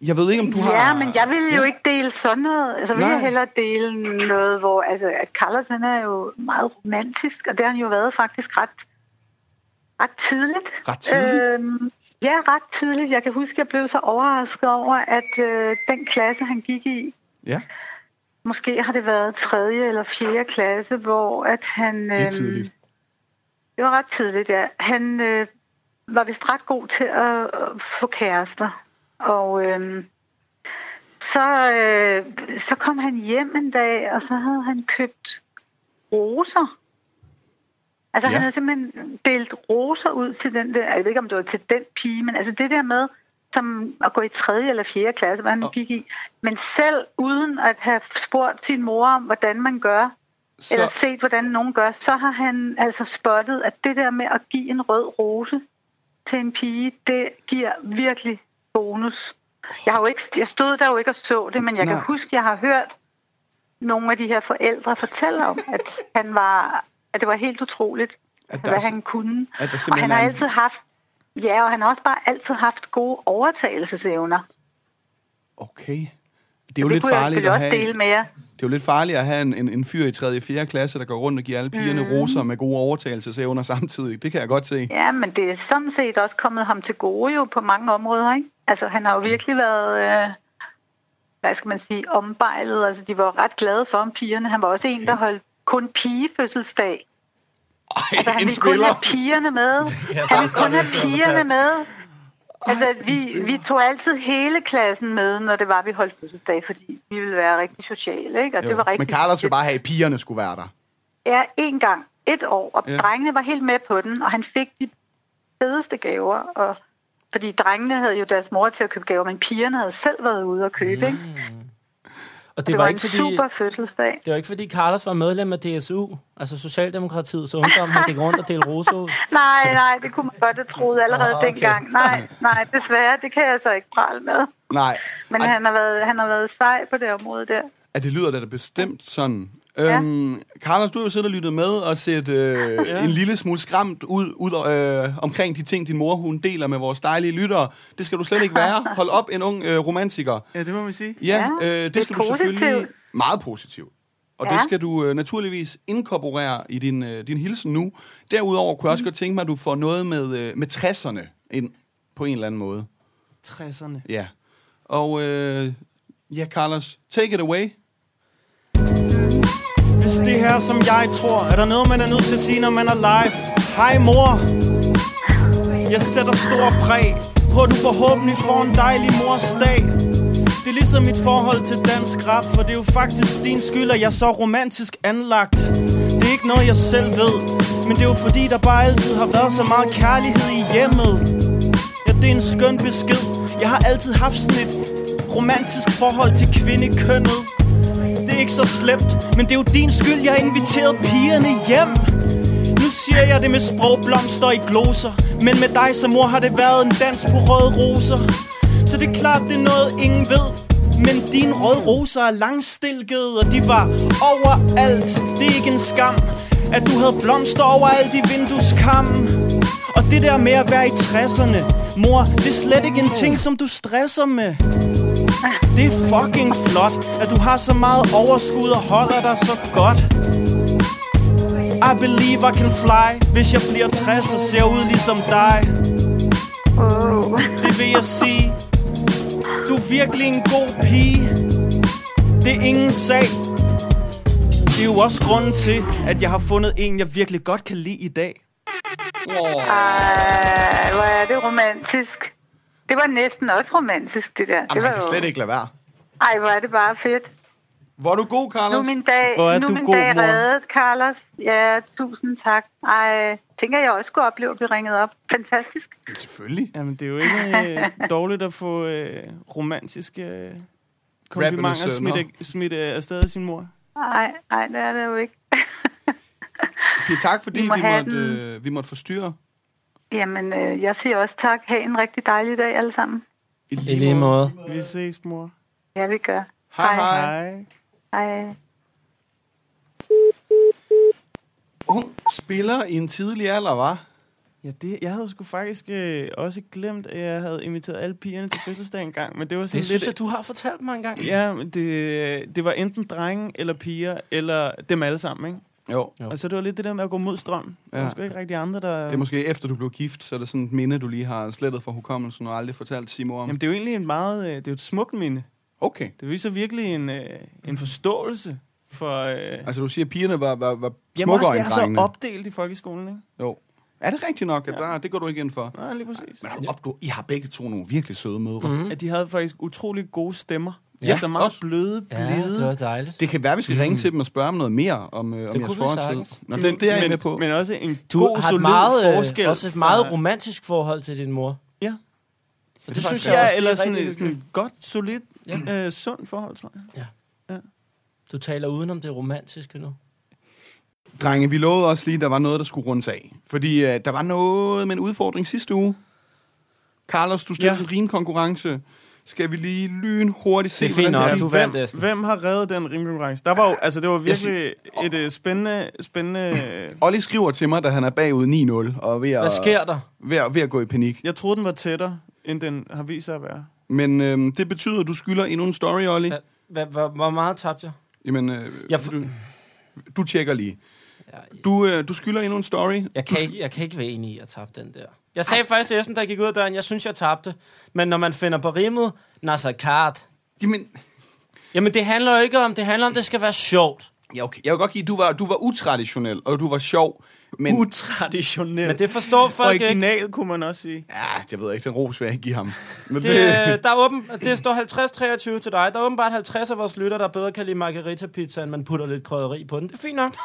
jeg ved ikke, om du har... Ja, men jeg vil jo ikke dele sådan noget. Altså, vil Nej. jeg hellere dele noget, hvor... Altså, at Carlos, han er jo meget romantisk, og det har han jo været faktisk ret, ret tidligt. Ret tidligt? Øhm, ja, ret tidligt. Jeg kan huske, jeg blev så overrasket over, at øh, den klasse, han gik i, Ja, måske har det været 3. eller 4. klasse, hvor at han... det er øhm, tidligt. Det var ret tidligt, ja. Han øh, var vist ret god til at øh, få kærester. Og øhm, så, øh, så kom han hjem en dag, og så havde han købt roser. Altså ja. Ja. han havde simpelthen delt roser ud til den der, jeg ved ikke om det var til den pige, men altså det der med som at gå i 3. eller 4. klasse, hvad han nu Og- gik i. Men selv uden at have spurgt sin mor om, hvordan man gør, så... eller Så, set, hvordan nogen gør, så har han altså spottet, at det der med at give en rød rose til en pige, det giver virkelig bonus. Jeg, har jo ikke, jeg stod der jo ikke og så det, men jeg Nej. Nej. kan huske, jeg har hørt nogle af de her forældre fortælle om, at han var, at det var helt utroligt, At at der hvad er sim- han kunne. at der Og simpelthen han har er en- altid haft, ja, og han har også bare altid haft gode overtagelsesevner. okay. Det er jo Det lidt kunne jeg farligt selvfølgelig at også have... dele med jer. Det er jo lidt farligt at have en, en, en fyr i 3. og 4. klasse, der går rundt og giver alle pigerne Mhm. mm. roser med gode overtagelsesevner samtidig. Det kan jeg godt se. Ja, men det er sådan set også kommet ham til gode jo på mange områder, ikke? Altså, han har jo virkelig været, øh, hvad skal man sige, ombejlet. Altså, de var jo ret glade for ham, pigerne. Han var også en, der holdt kun pigefødselsdag. Altså, han en ville kun spiller. have pigerne med. Han ville kun have pigerne med. Altså, vi, vi tog altid hele klassen med, når det var, vi holdt fødselsdag, fordi vi ville være rigtig sociale, ikke? Og det var rigtig Men Carlos vil hyggeligt. bare have, at pigerne skulle være der. Ja, en gang. Et år. Og Ja. ja. drengene var helt med på den, og han fik de fedeste gaver. Og, fordi drengene havde jo deres mor til at købe gaver, men pigerne havde selv været ude og købe, ikke? Det, Og det, det var, var, en ikke fordi, super fødselsdag. det var ikke fordi Carlos var medlem af DSU, altså Socialdemokratiets Ungdom, han gik rundt og delte roser ud. Nej, nej, det kunne man godt have troet allerede Nå, okay. okay. dengang. Nej, nej, desværre, det kan jeg så ikke prale med. Nej, Men Ej. han har, været, han har været sej på det område der. at det lyder da da bestemt sådan. Ja. Øhm, Carlos, du har jo siddet og lyttet med og set øh, ja. en lille smule skræmt ud, ud øh, omkring de ting, din mor hun deler med vores dejlige lyttere. Det skal du slet ikke være. Hold op, en ung øh, romantiker. Ja, det må man sige. Ja, Ja, ja øh, det, det skal er du selvfølgelig... positivt. Meget positivt. Og ja. Ja. det skal du øh, naturligvis inkorporere i din, øh, din hilsen nu. Derudover kunne jeg også godt tænke mig, at du får noget med, øh, med 60'erne ind på en eller anden måde. 60'erne. Ja. Og øh, ja, Carlos, take it away. Hvis det her, som jeg tror, er der noget, man er nødt til at sige, når man er live? Hej mor! Jeg sætter stor præg på, at du forhåbentlig får en dejlig mors dag. Det er ligesom mit forhold til dansk rap, for det er jo faktisk din skyld, at jeg er så romantisk anlagt. Det er ikke noget, jeg selv ved, men det er jo fordi, der bare altid har været så meget kærlighed i hjemmet. Ja, det er en skøn besked. Jeg har altid haft sådan et romantisk forhold til kvindekønnet. Det er ikke så slemt, men det er jo din skyld, jeg har inviteret pigerne hjem. Nu siger jeg det med sprogblomster i gloser, men med dig som mor har det været en dans på røde roser. Så det er klart, det er noget, ingen ved. Men dine røde roser er langstilkede, og de var overalt. Det er ikke en skam, at du havde blomster overalt i vindueskammen. Og det der med at være i 60'erne, mor, det er slet ikke en ting, som du stresser med. Det er fucking flot, at du har så meget overskud og holder dig så godt. I believe I can fly, hvis jeg bliver 60 og ser ud ligesom dig. Oh. Det vil jeg sige. Du er virkelig en god pige. Det er ingen sag. Det er jo også grunden til, at jeg har fundet en, jeg virkelig godt kan lide i dag. Ej, hvor er det romantisk. Det var næsten også romantisk, det der. det Jamen, var han kan jo- slet ikke lade være. Ej, hvor er det bare fedt. Hvor er du god, Nu er Carlos? min dag, Hvor er nu du er min god, dag mor. reddet, Carlos. Ja, tusind tak. Ej, tænker jeg også kunne opleve at blive ringet op. Fantastisk. Min... Selvfølgelig. Jamen, det er jo ikke øh, dårligt at få øh, romantiske øh, komplimenter sønner. smidt, af- smidt øh, afsted af sin mor. Ej, ej, det er det jo ikke. Pia, tak fordi vi, Vi må vi, have måtte, øh, vi måtte forstyrre. Jamen, øh, jeg siger også tak. Ha' en rigtig dejlig dag alle sammen. I I lige måde. Vi ses, mor. Ja, vi gør. Hej, hej. hej. Hej. Hej. Ung spiller i en tidlig alder, var. Ja, det, jeg havde sgu faktisk øh, også glemt, at jeg havde inviteret alle pigerne til fødselsdag en gang, men det var sådan Det lidt... synes jeg, du har fortalt mig engang. Ja, men det, det var enten drenge eller piger, eller dem alle sammen, ikke? Jo. Jo. Og så det var lidt det der med at gå mod strøm. Ja. Der Ja. var sgu ikke rigtig andre, der... Det er måske efter, du blev gift, så er det sådan et minde, du lige har slettet fra hukommelsen og aldrig fortalt Simon om. Jamen, det er jo egentlig en meget... Øh, det er jo et smukt minde. Okay. Det viser virkelig en, øh, en forståelse for... Øh, Altså, du siger, at pigerne var, var, var Jamen smukkere også, det end er så drengene. opdelt i folkeskolen, ikke? Jo. Er det rigtigt nok, at der, det går du ikke ind for? Nej, lige præcis. Men hold op, du, I har begge to nogle virkelig søde mødre. Mhm. Mm. At de havde faktisk utrolig gode stemmer. Ja, Ja, altså meget også. også. bløde, Ja, blide. det var dejligt. Det kan være, vi skal ringe til dem og spørge dem noget mere om, øh, om kunne jeres vi forhold til. sagtens. Nå, det, det er jeg men, med på. Men også en Du god, har et solid meget, øh, forskel. også et meget fra- romantisk forhold til din mor. Ja. Og det, synes Synes jeg også, ja, det eller er sådan rigtig et sådan godt, solidt, ja. øh, sundt forhold, tror jeg. hyggeligt. Du taler udenom det romantiske nu. Drenge, vi lovede også lige, at der var noget, der skulle rundes af. Fordi øh, der var noget med en udfordring sidste uge. Carlos, du stillede ja. Ja. en rimkonkurrence. Skal vi lige lynhurtigt se, Det er fint hvordan nok. det Du er? vandt, hvem, Esben. hvem har reddet den rimkonkurrence? Der var jo, altså det var virkelig et øh, spændende, spændende... Olli skriver til mig, da han er bagud 9-0, og er ved at, Hvad sker der? ved, at, ved at gå i panik. Jeg troede, den var tættere, end den har vist sig at være. Men øh, det betyder, at du skylder endnu en story, Olli. Ja. Hva- hva- hva- Hvor meget tabte jeg? Jamen, øh, Jeg f- du, du tjekker lige. Jeg, Du, øh, du skylder endnu en story. jeg, kan ikke, jeg kan ikke være enig i at tabe den der. Jeg sagde faktisk til Esben, der gik ud af døren, jeg synes, jeg tabte. Men når man finder på rimet, Nasser Kart. Jamen, Jamen, det handler jo ikke om, det handler om, det skal være sjovt. ja, okay. Jeg vil godt give, at du var, du var utraditionel, og du var sjov. Men Utraditionelt. Men det forstår folk ikke. Original, kunne man også sige. ja, jeg ved ikke, den ros vil jeg ikke give ham. Men Det, øh, der er åben, det står 50-23 til dig. Der er åbenbart 50 af vores lytter, der bedre kan lide margarita-pizza, end man putter lidt krydderi på den. Det er fint nok.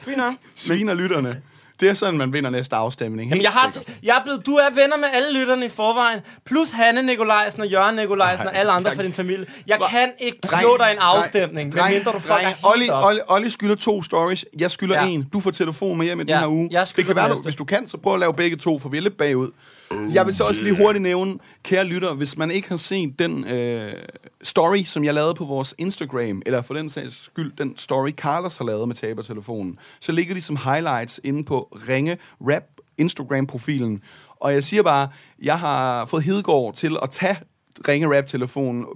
fint nok. Sviner lytterne. Det er sådan, man vinder næste afstemning. Jamen, helt jeg, har sikkert. t- jeg er blevet, du er venner med alle lytterne i forvejen, plus Hanne Nikolajsen og Jørgen Nikolajsen og alle andre jeg- fra din familie. Jeg Dre- kan ikke Dreng, slå dig i en dreng, afstemning, medmindre du fucker dreng, helt Olli, op. Olli, Olli skylder to stories. Jeg skylder Ja. en. Du får telefon med hjem i Ja, den her uge. jeg det skylder kan være, du, næste. hvis du kan, så prøv at lave begge to, for vi er lidt bagud. Jeg vil så også lige hurtigt nævne, kære lytter, hvis man ikke har set den øh, story, som jeg lavede på vores Instagram, eller for den sags skyld, den story, Carlos har lavet med tabertelefonen, så ligger de som highlights inde på Ringe Rap Instagram-profilen. Og jeg siger bare, jeg har fået Hedegaard til at tage Ringe Rap-telefonen,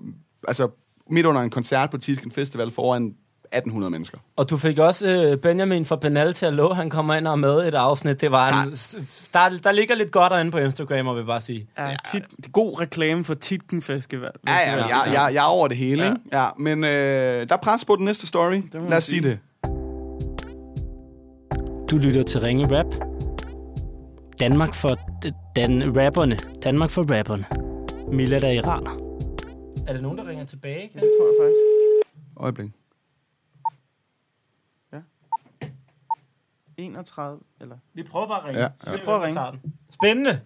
altså midt under en koncert på Tisken Festival foran 1800 mennesker. Og du fik også øh, Benjamin fra Benal til at love, han kommer ind og er med i et afsnit. Det var en, der, der ligger lidt godt derinde på Instagram, og vil jeg bare sige. Ja, tit, god reklame for Titken Festival. hvis Ja, det ja, er. jeg, jeg, jeg er over det hele, ja. ikke? Ja, men øh, der er pres på den næste story. må man Lad os sige sige. det. Du lytter til Ringe Rap. Danmark for den rapperne. Danmark for rapperne. Mila der iraner. Er der nogen, der ringer tilbage? Kan? Det tror jeg faktisk. Øjeblik. 31, eller... Vi prøver bare at ringe. Ja, Ja, ja. ja. Vi prøver at ringe. Spændende.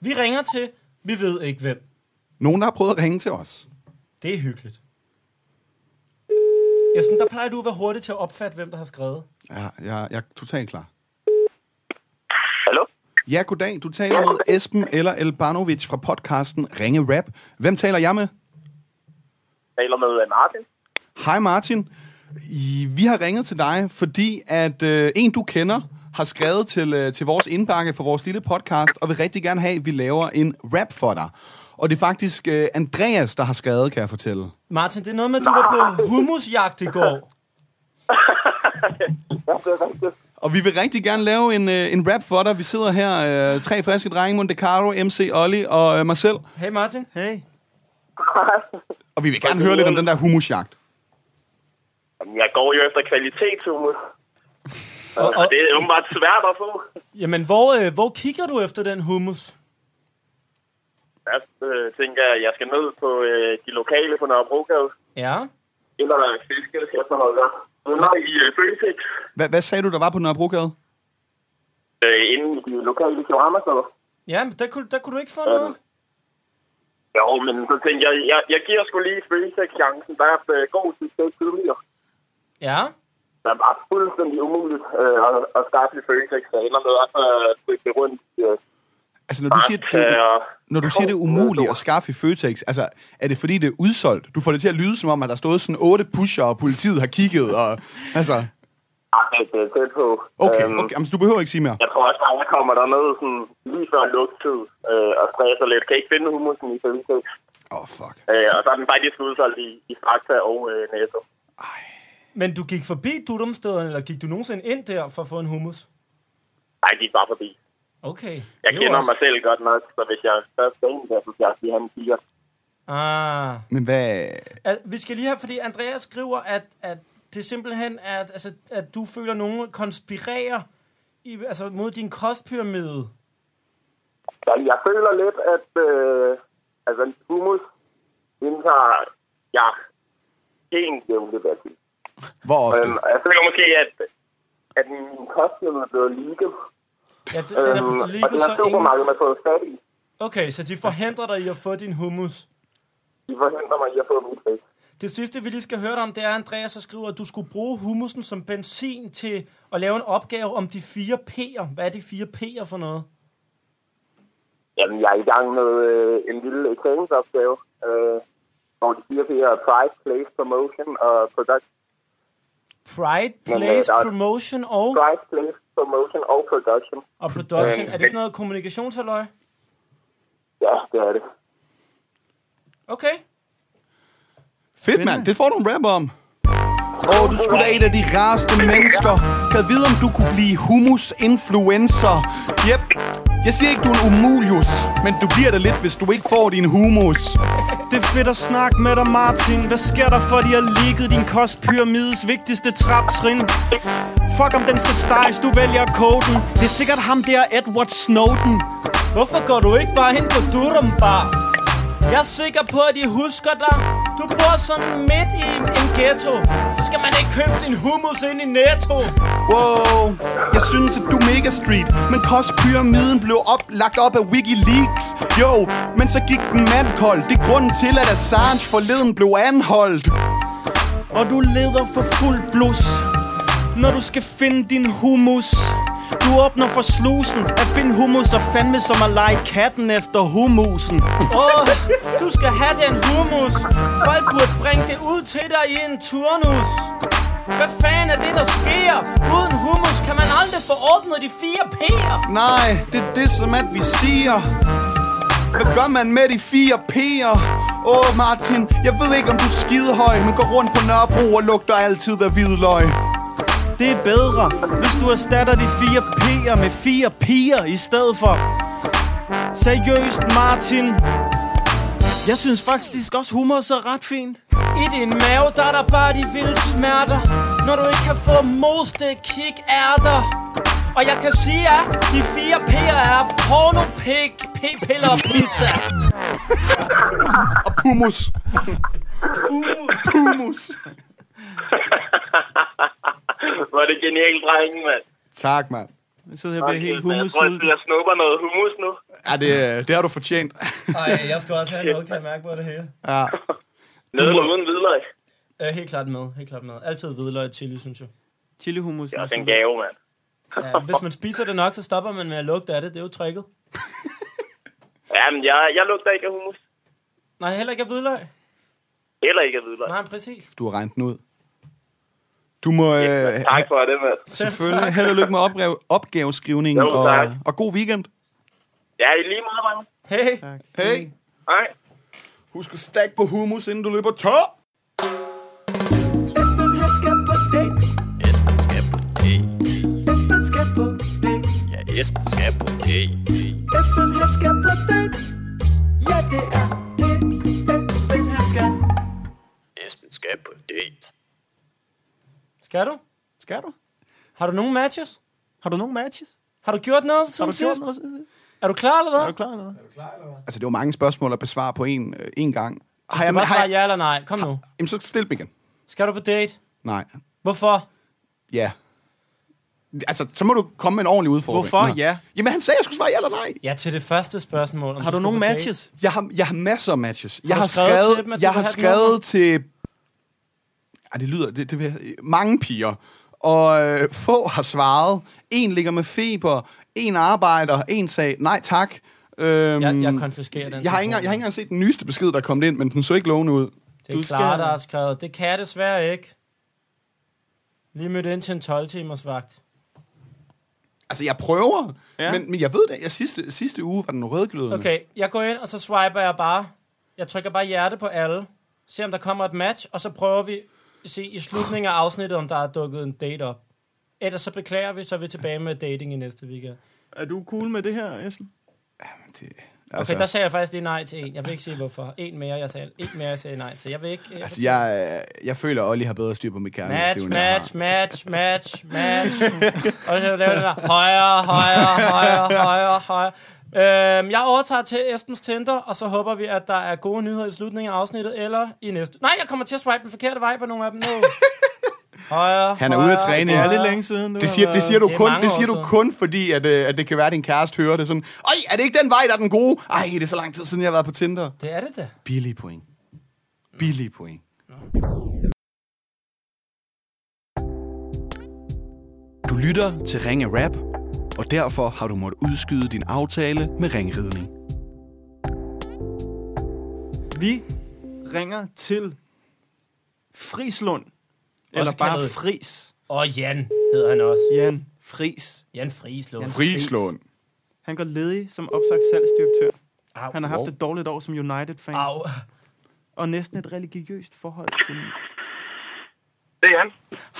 Vi ringer til, vi ved ikke hvem. Nogen, der har prøvet at ringe til os. Det er hyggeligt. Esben, der plejer du at være hurtig til at opfatte, hvem der har skrevet. Ja, jeg, jeg er totalt klar. Hallo? Ja, goddag. Du taler med Esben eller Elbanovic fra podcasten Ringe Rap. Hvem taler jeg med? Taler med Martin. Hej Martin. I, vi har ringet til dig, fordi at øh, en, du kender, har skrevet til, øh, til vores indbakke for vores lille podcast, og vil rigtig gerne have, at vi laver en rap for dig. Og det er faktisk øh, Andreas, der har skrevet, kan jeg fortælle. Martin, det er noget med, at du var på humusjagt i går. Og vi vil rigtig gerne lave en, øh, en rap for dig. Vi sidder her, øh, tre friske drenge, Monte Carlo, MC Olli og øh, mig selv. Hey Martin, Hey. Og vi vil gerne høre lidt om den der humusjagt. Jamen, Jeg går jo efter kvalitet, Tune. og, og, Det er åbenbart svært at få. jamen, hvor, øh, hvor kigger du efter den humus? Først øh, tænker jeg, at jeg skal ned på øh, de lokale på Nørrebrogade. Ja, Eller der er fiske, efter noget der. Under i øh, Føtex. Hva, hvad sagde du, der var på Nørrebrogade? Øh, inden i de lokale shawarma-steder. ja men der, kunne, der kunne du ikke få noget. Øh, Jo, men så tænker jeg, jeg, jeg giver sgu lige Føtex chancen. Der er øh, god succes tidligere. Ja, Det er bare fuldstændig umuligt øh, at, at starte i Føtex. Så ender med at øh, flytte rundt. Øh, Altså, når du siger, det, når du siger, det er umuligt at skaffe i Føtex, altså, er det fordi, det er udsolgt? Du får det til at lyde, som om, at der stod sådan otte pusher, og politiet har kigget, og... Altså, Ja, Ah, det- det er tæt på. okay, Øhm, okay. Jamen, så du behøver ikke sige mere. Jeg tror også bare, jeg kommer derned sådan, lige før lugtid øh, og stresser lidt. Kan ikke finde humusen i Føtex. Åh, oh, fuck. Øh, og så er den faktisk udsolgt i, i Fakta og øh, Netto. men du gik forbi Dudumstederne, eller gik du nogensinde ind der for at få en humus? Nej, de er bare forbi. Okay. Jeg det var kender også- mig selv godt nok, så hvis jeg først skal ind der, så skal jeg sige, han kigger. Ah. Men hvad... Al- Vi skal lige have, fordi Andreas skriver, at, at det simpelthen er, at, altså, at du føler, at nogen konspirerer i, altså mod din kostpyramide? Ja, jeg føler lidt, at øh, altså, hummus indtager ja, helt jævnligt værdi. Hvor ofte? Øhm, og jeg føler måske, at, at min kostpyramide er blevet leaget. Ja, det, den Øhm, er og ligget den har så ingen... supermarkedet med fået fat i. Okay, så de forhindrer dig i at få din hummus. De forhindrer mig i at få mit væk. Det sidste, vi lige skal høre dig om, det er, Andreas, der skriver, at du skulle bruge hummusen som benzin til at lave en opgave om de fire P'er. Hvad er de fire P'er for noget? Jamen, jeg er i gang med øh, en lille eksamensopgave, øh, hvor de fire P'er er Price, Place, Promotion og Product. Pride, Men, øh, place, der er- promotion og, Price, Place, Promotion og Production. og production. øh, Er det sådan noget kommunikationshalløj? Ja, det er det. Okay. Fedt, mand. Det får du en rap om. Åh, oh, du skulle da et af de rareste mennesker. Kan vide, om du kunne blive humus-influencer. Yep. Jeg siger ikke, du er en umulius, men du bliver det lidt, hvis du ikke får din humus. Det er fedt at snakke med dig, Martin. Hvad sker der for, de har ligget din kostpyramides vigtigste traptrin? Fuck om den skal steges, du vælger koden. Det er sikkert ham der, Edward Snowden. Hvorfor går du ikke bare ind på Durum Bar? Jeg er sikker på, at I husker dig. Du bor sådan midt i en ghetto. Så skal man ikke købe sin hummus ind i Netto. Wow, jeg synes, at du er mega street Men kostpyramiden blev op, lagt op af Wikileaks Jo, men så gik den mandkold Det er grunden til, at Assange forleden blev anholdt Og du leder for fuld blus Når du skal finde din hummus Du åbner for slusen At finde hummus og fandme som at lege katten efter hummusen Åh, oh, du skal have den hummus. Folk burde bringe det ud til dig i en turnus. Hvad fanden er det, der sker? Uden hummus kan man aldrig få ordnet de fire P'er. Nej, det er det, som at vi siger Hvad gør man med de fire P'er? Åh, oh, Martin, jeg ved ikke, om du er skidehøj Men går rundt på Nørrebro og lugter altid af hvidløg Det er bedre Hvis du erstatter de fire P'er med fire piger I stedet for Seriøst Martin Jeg synes faktisk også hummus er ret fint I din mave, der er der bare de vilde smerter Når du ikke kan få moste kikærter Og jeg kan sige, at de fire P'er er porno, pik, p-piller og pizza Hummus Humus. Hummus Hvor er det genialt, drenge, mand. Tak, mand Jeg sidder her og bliver helt hummus Jeg tror, jeg snupper noget hummus nu. Ja, det, det har du fortjent Ej, jeg skal også have noget, kan jeg mærke på det hele Ja Nede uden hvidløg. øh, Helt klart med, helt klart med Altid hvidløg og chili, synes jeg Chili hummus Ja, den gave, mand. ja, Hvis man spiser det nok, så stopper man med at lugte af det Det er jo tricket Jamen, jeg, jeg lugter ikke af hummus. Nej, heller ikke af hvidløg Heller ikke af hvidløg. Nej, præcis Du har regnet den ud. Du må øh, Tak for det, mand. selvfølgelig held og lykke med opgave, opgaveskrivningen, Jo, tak. og, og god weekend. Ja, i lige meget, mand. Hey, Hey, Hej. husk at stack på hummus, inden du løber tør. skal du? Skal du? Har du nogen matches? Har du nogen matches? Har du gjort noget Har siden du gjort sidst? noget? siden- Er du klar eller Er hvad? du klar eller hvad? Altså, det var mange spørgsmål at besvare på en, øh, en gang. Har Du jeg, må har svare jeg, ja eller nej, kom nu jamen, så stil dem igen. Skal du på date? Nej. Hvorfor? Ja. Altså, så må du komme med en ordentlig udfordring. Hvorfor? Nå. Ja. Jamen, han sagde, at jeg skulle svare ja eller nej. Ja, til det første spørgsmål. Om Har du skal nogen på date. matches? Jeg har, jeg har masser af matches. Jeg du har skrevet skrevet, til dem, at du jeg vil har have skrevet dem til... Ej, det lyder... Det, det, vil- mange piger. Og øh, få har svaret. En ligger med feber. En arbejder. En sagde, nej tak. Øhm, Jeg- jeg konfiskerer den Jeg har, ikke, telefon. engang- jeg har ikke engang set den nyeste besked, der er kommet ind, men den så ikke lovende ud. Det er du Du Clara, skal- der har skrevet, det kan jeg desværre ikke. Lige mødt ind til en 12-timers vagt. Altså, jeg prøver, Ja. ja. men, men jeg ved det. Jeg sidste, sidste uge var den rødglødende. Okay, jeg går ind, og så swiper jeg bare. Jeg trykker bare hjerte på alle. Se om der kommer et match, og så prøver vi at se i slutningen af afsnittet, om der er dukket en date op. Ellers så beklager vi, så er vi tilbage med dating i næste weekend. Er du cool med det her, Esben? Det, Okay, der sagde jeg faktisk lige nej til en. Jeg vil ikke sige hvorfor. En mere, jeg sagde, en mere, jeg sagde nej til. Jeg vil ikke... Jeg Altså, jeg, jeg føler, at Olli har bedre styr på mit Match, kærlighedsliv, end jeg har. match, match, match, match. Og så laver den der højere, højere, højere, højere, højere. Øhm, jeg overtager til Esbens Tinder, og så håber vi, at der er gode nyheder i slutningen af afsnittet, eller i næste... Nej, jeg kommer til at swipe den forkerte vej på nogle af dem nu. Højere, Han er højere, ude at træne. Det er højere. lidt længe siden. Det siger, det siger du Det er kun, mange det siger år du siden. kun fordi, at, øh, at det kan være, at din kæreste hører det sådan, Øj, er det ikke den vej, der er den gode? Ej, det er så lang tid siden, jeg har været på Tinder. Det er det da. Billig point. Billig point. Du lytter til Ringe Rap, og derfor har du måttet udskyde din aftale med ringridning. Vi ringer til Frislund. Eller Også bare kaldet- Fris. Og Jan hedder han også. Jan Fris. Jan Frislund. Jan Frislund. Han går ledig som opsagt salgsdirektør. Au. Han har haft et dårligt år som United-fan. Au. Og næsten et religiøst forhold til... Det er Jan.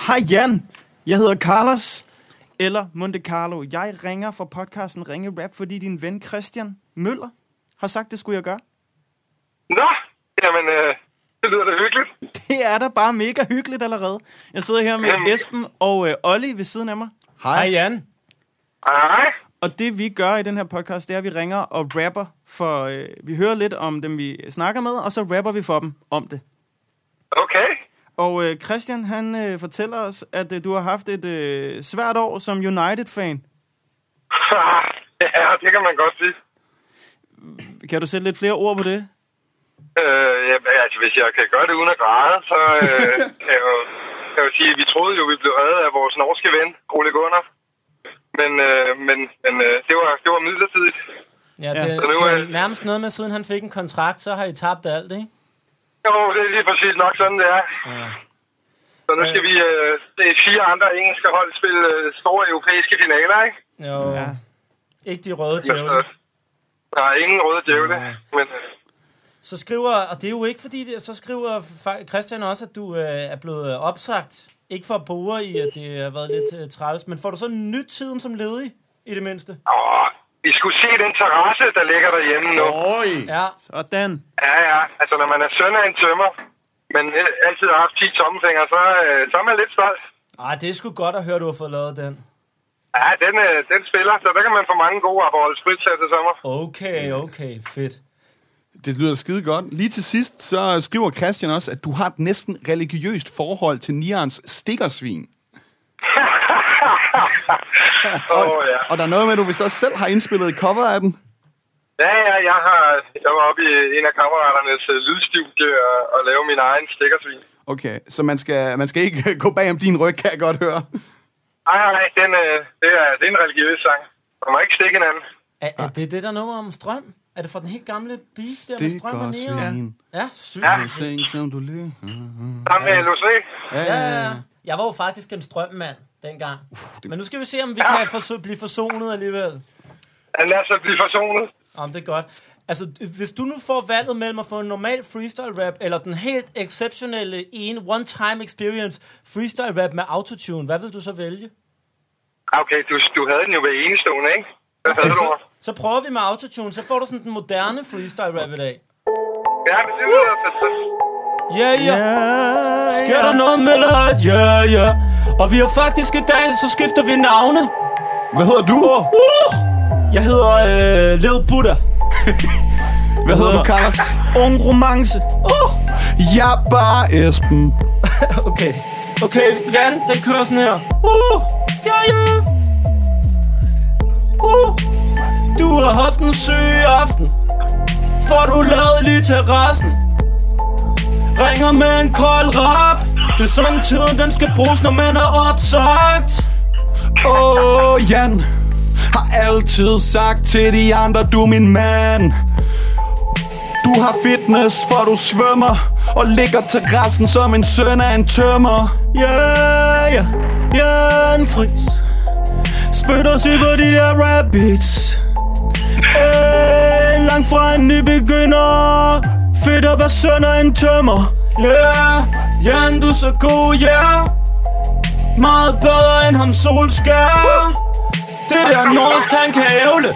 Hej Jan, jeg hedder Carlos, eller Monte Carlo. Jeg ringer fra podcasten Ringe Rap, fordi din ven Christian Møller har sagt, det skulle jeg gøre. Nå, jamen, øh, det lyder da hyggeligt. Det er da bare mega hyggeligt allerede. Jeg sidder her med Esben og øh, Olli ved siden af mig. Hej Jan. Ej, Og det vi gør i den her podcast, det er, at vi ringer og rapper for... Øh, vi hører lidt om dem, vi snakker med, og så rapper vi for dem om det. okay. Og øh, Christian, han øh, fortæller os, at øh, du har haft et øh, svært år som United-fan. ja, det kan man godt sige. Kan du sætte lidt flere ord på det? Øh, ja, altså, hvis jeg kan gøre det uden at græde, så øh, kan jeg jo, kan jeg jo sige, at vi troede jo, vi blev reddet af vores norske ven, Ole Gunnar. Men, øh, men, men øh, det, var, det var midlertidigt. Ja, det, Så nu det er- er nærmest noget med, siden han fik en kontrakt, så har I tabt alt, ikke? Jo, det er lige præcis nok sådan, det er. Så nu skal vi øh, se fire andre engelske hold spille øh, store europæiske finaler, ikke? Jo. Ja. Ikke de røde Men, tævle. øh, der er ingen røde djævle, men... Øh, Så skriver, og det er jo ikke fordi, det, så skriver fa- Christian også, at du øh, er blevet øh, opsagt. Ikke for at bore i, at det har været lidt øh, træls, men får du så nyt tiden som ledig, i det mindste? Åh, I skulle se den terrasse, der ligger derhjemme nu. Ja, Sådan. Ja, ja. Altså, når man er søn af en tømmer, men øh, altid har haft 10 tommelfingre, så, øh, så er man lidt stolt. Ej, det er sgu godt at høre, du har fået lavet den. Ja, den, øh, den spiller, så der kan man få mange gode Aperol Spritz her til sommer. Okay, okay, fedt. Det lyder skide godt. Lige til sidst, så skriver Christian også, at du har et næsten religiøst forhold til Nians stikkersvin. Åh, oh, ja. Og der er noget med, at du vist også selv har indspillet et cover af den. Ja, ja, jeg, har, jeg var oppe i en af kammeraternes øh, lydstudie og, og lave min egen stikkersvin. Okay, så man skal, man skal ikke gå bag om din ryg, kan jeg godt høre. Nej, nej, den, øh, det, er, det er en religiøs sang. Man må ikke stikke hinanden. Er, er det det der nummer om strøm? Er det fra den helt gamle beef der med Det strøm går og neon? svin. Ja, sygt. Ja. Ja. Seng, som du lyder. Sammen med LOC. Ja, ja, ja. Jeg var jo faktisk en strømmand dengang. Men nu skal vi se, om vi kan forso- blive forsonet alligevel. Han lader sig blive forsonet. Jamen, det er godt. Altså, d- hvis du nu får valget mellem at få en normal freestyle rap, eller den helt exceptionelle en one-time experience freestyle rap med autotune, hvad vil du så vælge? Ah, Okay, du, du havde den jo ved enestående, ikke? Hvad havde du? Så prøver vi med autotune, så får du sådan den moderne freestyle rap i dag. Ja, men det lyder fantastisk. Ja, yeah, ja. Yeah. Sker der noget med det? Ja, ja. Og vi har faktisk i dag, så skifter vi navne. Hvad hedder du? Uh! Jeg hedder øh, Lil Buddha. Hvad hedder du, Carlos? Ah, Ung romance. Uh! Jeg er bare Esben. Okay. Okay, Jan, den kører sådan her. Uh, ja, ja. Uh, du har haft en syg aften. For du lavet lige terrassen. Ringer med en kold rap. Det er sådan tiden, den skal bruges, når man er opsagt. Åh, oh, Jan. Har altid sagt til de andre, du er min mand. Du har fitness, for du svømmer. Og ligger til resten som en søn af en tømmer. Ja, ja, Jan Friis. Spytter sig på de der rap beats. Øh, langt fra en nybegynder. Fedt at være søn af en tømmer. Ja, yeah, Jan, du er så god, ja. Yeah. Meget bedre end ham solskær. Det der norsk, han kan ævle.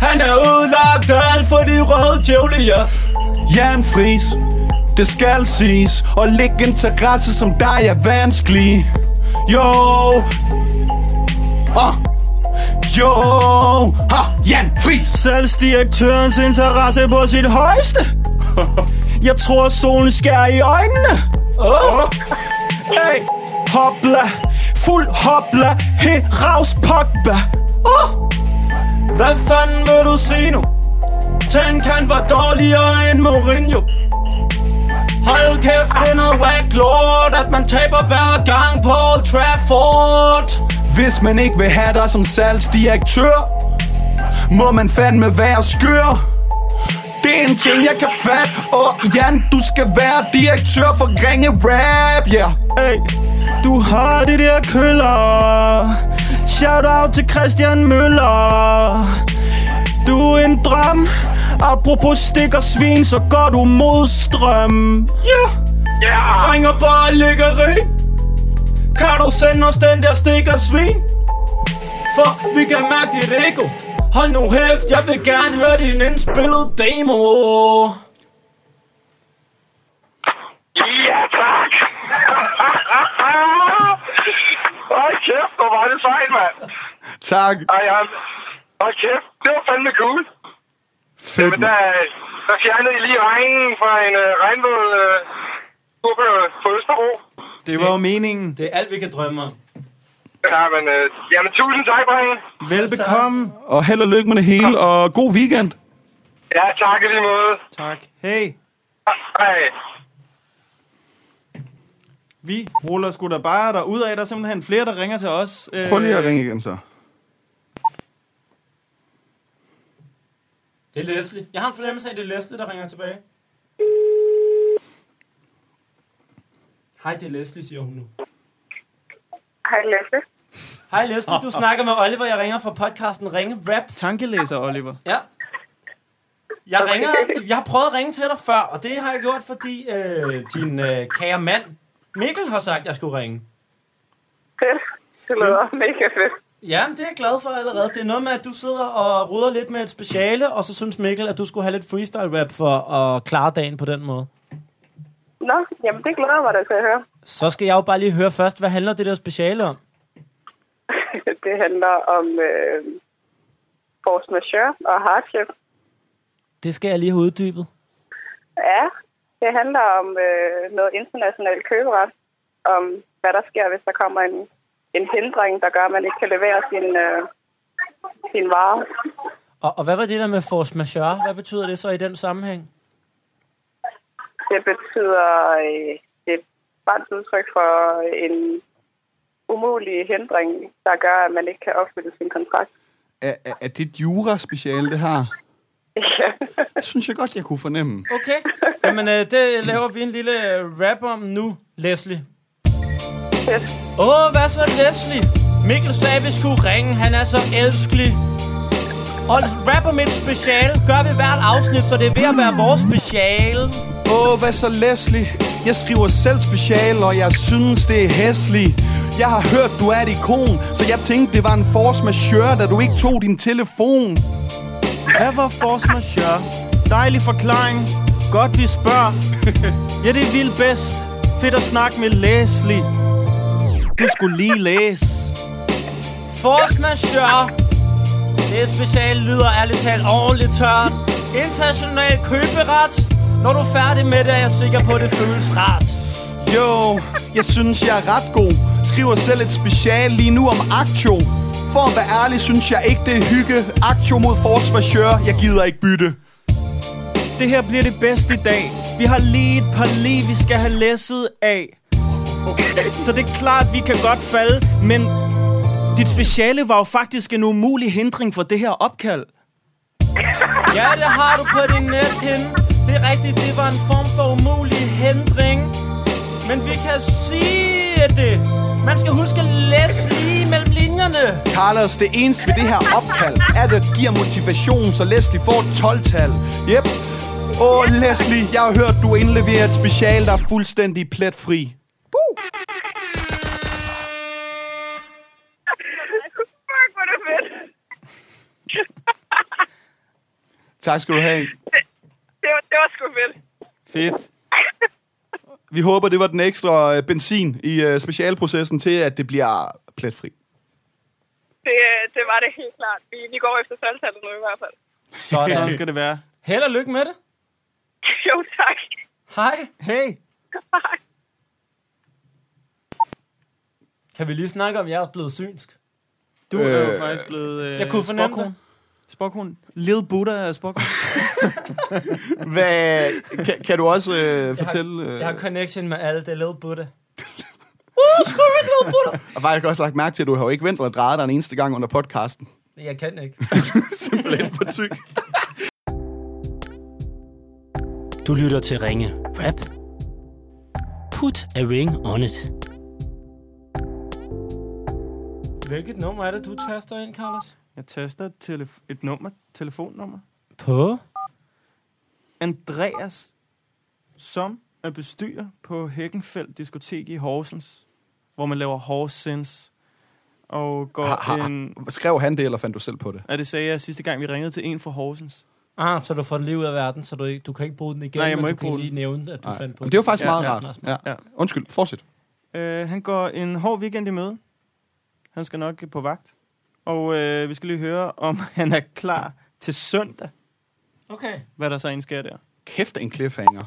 Han er udlagt af alt for de røde djævlier. Jan Fris, det skal siges Og læg interesse som dig er vanskelig Jo oh. Jo ha. Jan Fris Selvsdirektørens interesse på sit højeste. Jeg tror, solen skærer i øjnene. Oh. Hey, hopla. Fuld hopla. He, raus, pogba. Oh. Hvad fanden vil du sige nu? Tænk, han var dårligere end Mourinho. Hold kæft, det er noget whack lort, at man taber hver gang på Old Trafford. Hvis man ikke vil have dig som salgsdirektør Må man fandme være skør Det er en ting jeg kan fatte Og Jan, du skal være direktør for Ringe Rap, yeah Hey, du har det der køller. Shout out til Christian Møller. Du er en drøm. Apropos stik og svin, så går du mod strøm. Ja, Ja, Ringer bare lykkeri. Kan du sende os den der stikker svin? For vi kan mærke dit ego. Hold nu hæft, jeg vil gerne høre din indspillede demo. ja tak! Hold kæft, hvor var det sejt, mand. Tak, Ej, ja. Hold kæft, det var fandme cool. fedt Men der, der fjernede I lige regnen fra en øh, regnvåd øh, tur på, på Østerbro. det var jo meningen. Det er alt, vi kan drømme om. Ja, men, øh, jamen, tusind tak, Brian. Velbekomme. Og held og lykke med det hele Og god weekend Ja, tak i lige måde. Tak. Hey, Hej. vi ruller sgu da bare derud af. Der er simpelthen flere, der ringer til os. Øh, Prøv lige at ringe igen så Det er Leslie. Jeg har en fornemmelse af, at det er Leslie, der ringer tilbage. Hej, det er Leslie, siger hun nu. Hej, Lasse. Hej Leslie, du snakker med Oliver. Jeg ringer fra podcasten Ringe Rap. Tankelæser, Oliver. Ja. Jeg, ringer, jeg har prøvet at ringe til dig før, og det har jeg gjort, fordi øh, din øh, kære mand Mikkel har sagt, at jeg skulle ringe. Fedt. Det lyder mega fedt. Ja, det er jeg glad for allerede. Det er noget med, at du sidder og ruder lidt med et speciale, og så synes Mikkel, at du skulle have lidt freestyle rap for at klare dagen på den måde. Nå, jamen det glæder jeg mig da til at høre. Så skal jeg jo bare lige høre først, hvad handler det der speciale om? Det handler om øh, force majeure og hardship. Det skal jeg lige have uddybet. Ja, det handler om øh, noget international køberet. Om hvad der sker, hvis der kommer en, en hindring, der gør, at man ikke kan levere sin, øh, sin vare. Og, og hvad var det der med force majeure? Hvad betyder det så i den sammenhæng? Det betyder, øh, det er bare et udtryk for en umulig hindring, der gør, at man ikke kan opfylde sin kontrakt. Er, er, er det et jura-speciale det her? Ja. Det synes jeg godt jeg kunne fornemme Okay, jamen øh, det laver vi en lille øh, rap om nu, Leslie. Fedt. Åh, hvad så Leslie? Mikkel sagde, vi skulle ringe. Han er så elskelig. Og rap om et special gør vi hvert afsnit, så det er ved at være vores special. Åh, hvad så Leslie? Jeg skriver selv special, og jeg synes, det er hæslig. Jeg har hørt, du er et ikon, så jeg tænkte, det var en force majeure, da du ikke tog din telefon. Hvad var force majeure? Dejlig forklaring. Godt, vi spørger. Ja, det er vildt bedst. Fedt at snakke med Leslie. Du skulle lige læse. Force majeure. Det special lyder ærligt talt ordentligt tørt. International køberet. Når du er færdig med det, er jeg sikker på, at det føles rart. Jo, jeg synes, jeg er ret god. Skriver selv et special lige nu om Aktio. For at være ærlig, synes jeg ikke, det er hygge. Aktio mod force majeure, jeg gider ikke bytte. Det her bliver det bedste i dag. Vi har lige et par lige, vi skal have læsset af. Så det er klart, vi kan godt falde, men dit speciale var jo faktisk en umulig hindring for det her opkald. Ja, det har du på din nethinde. Det er rigtigt, det var en form for umulig hindring. Men vi kan sige det. Man skal huske at læse lige mellem linjerne. Carlos, det eneste ved det her opkald, er at det giver motivation, så Leslie får et 12-tal. Yep. Åh, Leslie, jeg har hørt, du indleverer et special, der er fuldstændig pletfri. Fuck, hvor er det fedt. Tak skal du have. Det var, det var sgu fedt. Fedt. Vi håber, det var den ekstra øh, benzin i øh, specialprocessen til, at det bliver pletfri. Det, øh, det var det helt klart. Vi, vi går efter salgtallet nu i hvert fald. Sådan. Sådan skal det være. Held og lykke med det. Jo, tak. Hej. Hey! Kan vi lige snakke om, at jeg er blevet synsk? Du øh, er Øh, jo faktisk blevet øh, jeg kunne fornemme spokhorn. det. Spokhorn. Lille Buddha er spokhorn. Hvad, kan, kan du også øh, fortælle... Øh, Jeg har connection med alle det lille butte. og faktisk også lagt mærke til, at du har jo ikke vendt eller drejet dig en eneste gang under podcasten. Jeg kan ikke. Simpelthen for tyk. Du lytter til Ringe Rap. Put a ring on it. Hvilket nummer er det, du taster ind, Carlos? Jeg taster et, telef- et nummer, telefonnummer. På? Andreas, som er bestyrer på Hækkenfeldt Diskotek i Horsens, hvor man laver Horsens. Og går Har, har, en... skrev han det, eller fandt du selv på det? Ja, det sagde jeg sidste gang, vi ringede til en fra Horsens. Ah, så du får den lige ud af verden, så du, ikke, du kan ikke bruge den igen, Nej, jeg må men ikke du kan bruge lige den. nævne, at du Nej. fandt på Men det var faktisk Ja, meget ja, rart. Rasmus. Ja. Undskyld, fortsæt. Øh, han går en hård weekend i møde. Han skal nok på vagt. Og øh, vi skal lige høre, om han er klar til søndag, Okay. hvad der så end sker der. Kæft en cliffhanger.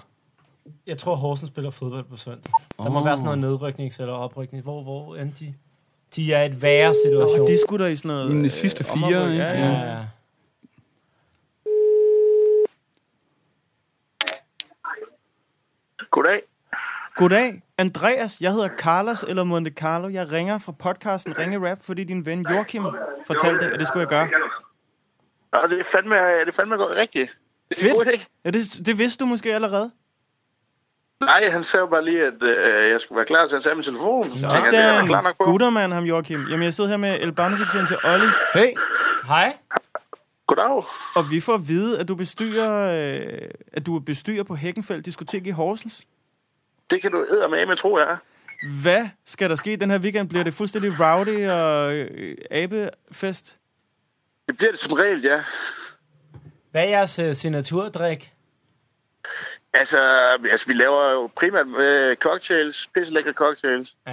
Jeg tror, Horsen spiller fodbold på søndag. Der må Åh. være sådan noget nedryknings- eller oprykning. Hvor, hvor end de? De er i et værre situation. Og de skutter i sådan noget... Men de sidste om og fire, rykke. ikke? Ja, ja. ja, ja. Goddag. Goddag, Andreas. Jeg hedder Carlos eller Monte Carlo. Jeg ringer fra podcasten Ringe Rap, fordi din ven Joachim fortalte, at det skulle jeg gøre. Nå, det er fandme, det er fandme godt rigtigt. Det er en god idé. Fedt. Ja, det, det vidste du måske allerede. Nej, han sagde jo bare lige, at øh, jeg skulle være klar til at tage min telefon. Så tænkte, jeg, det er jeg da klar Sådan. nok på. Guttermand ham, Joachim. Jamen, jeg sidder her med Elbanovic ind til Olli, Hey, Hej. Goddag. og vi får at vide, at du bestyrer, øh, at du er bestyrer på Hækkenfeldt Diskotek i Horsens. Det kan du eddermame med, tror jeg. er. Hvad skal der ske den her weekend? Bliver det fuldstændig rowdy og øh, abefest? Det bliver det som regel, ja. Hvad er jeres uh, signaturdrik? Altså, altså vi laver jo primært øh, cocktails, pisse lækre cocktails. Ja.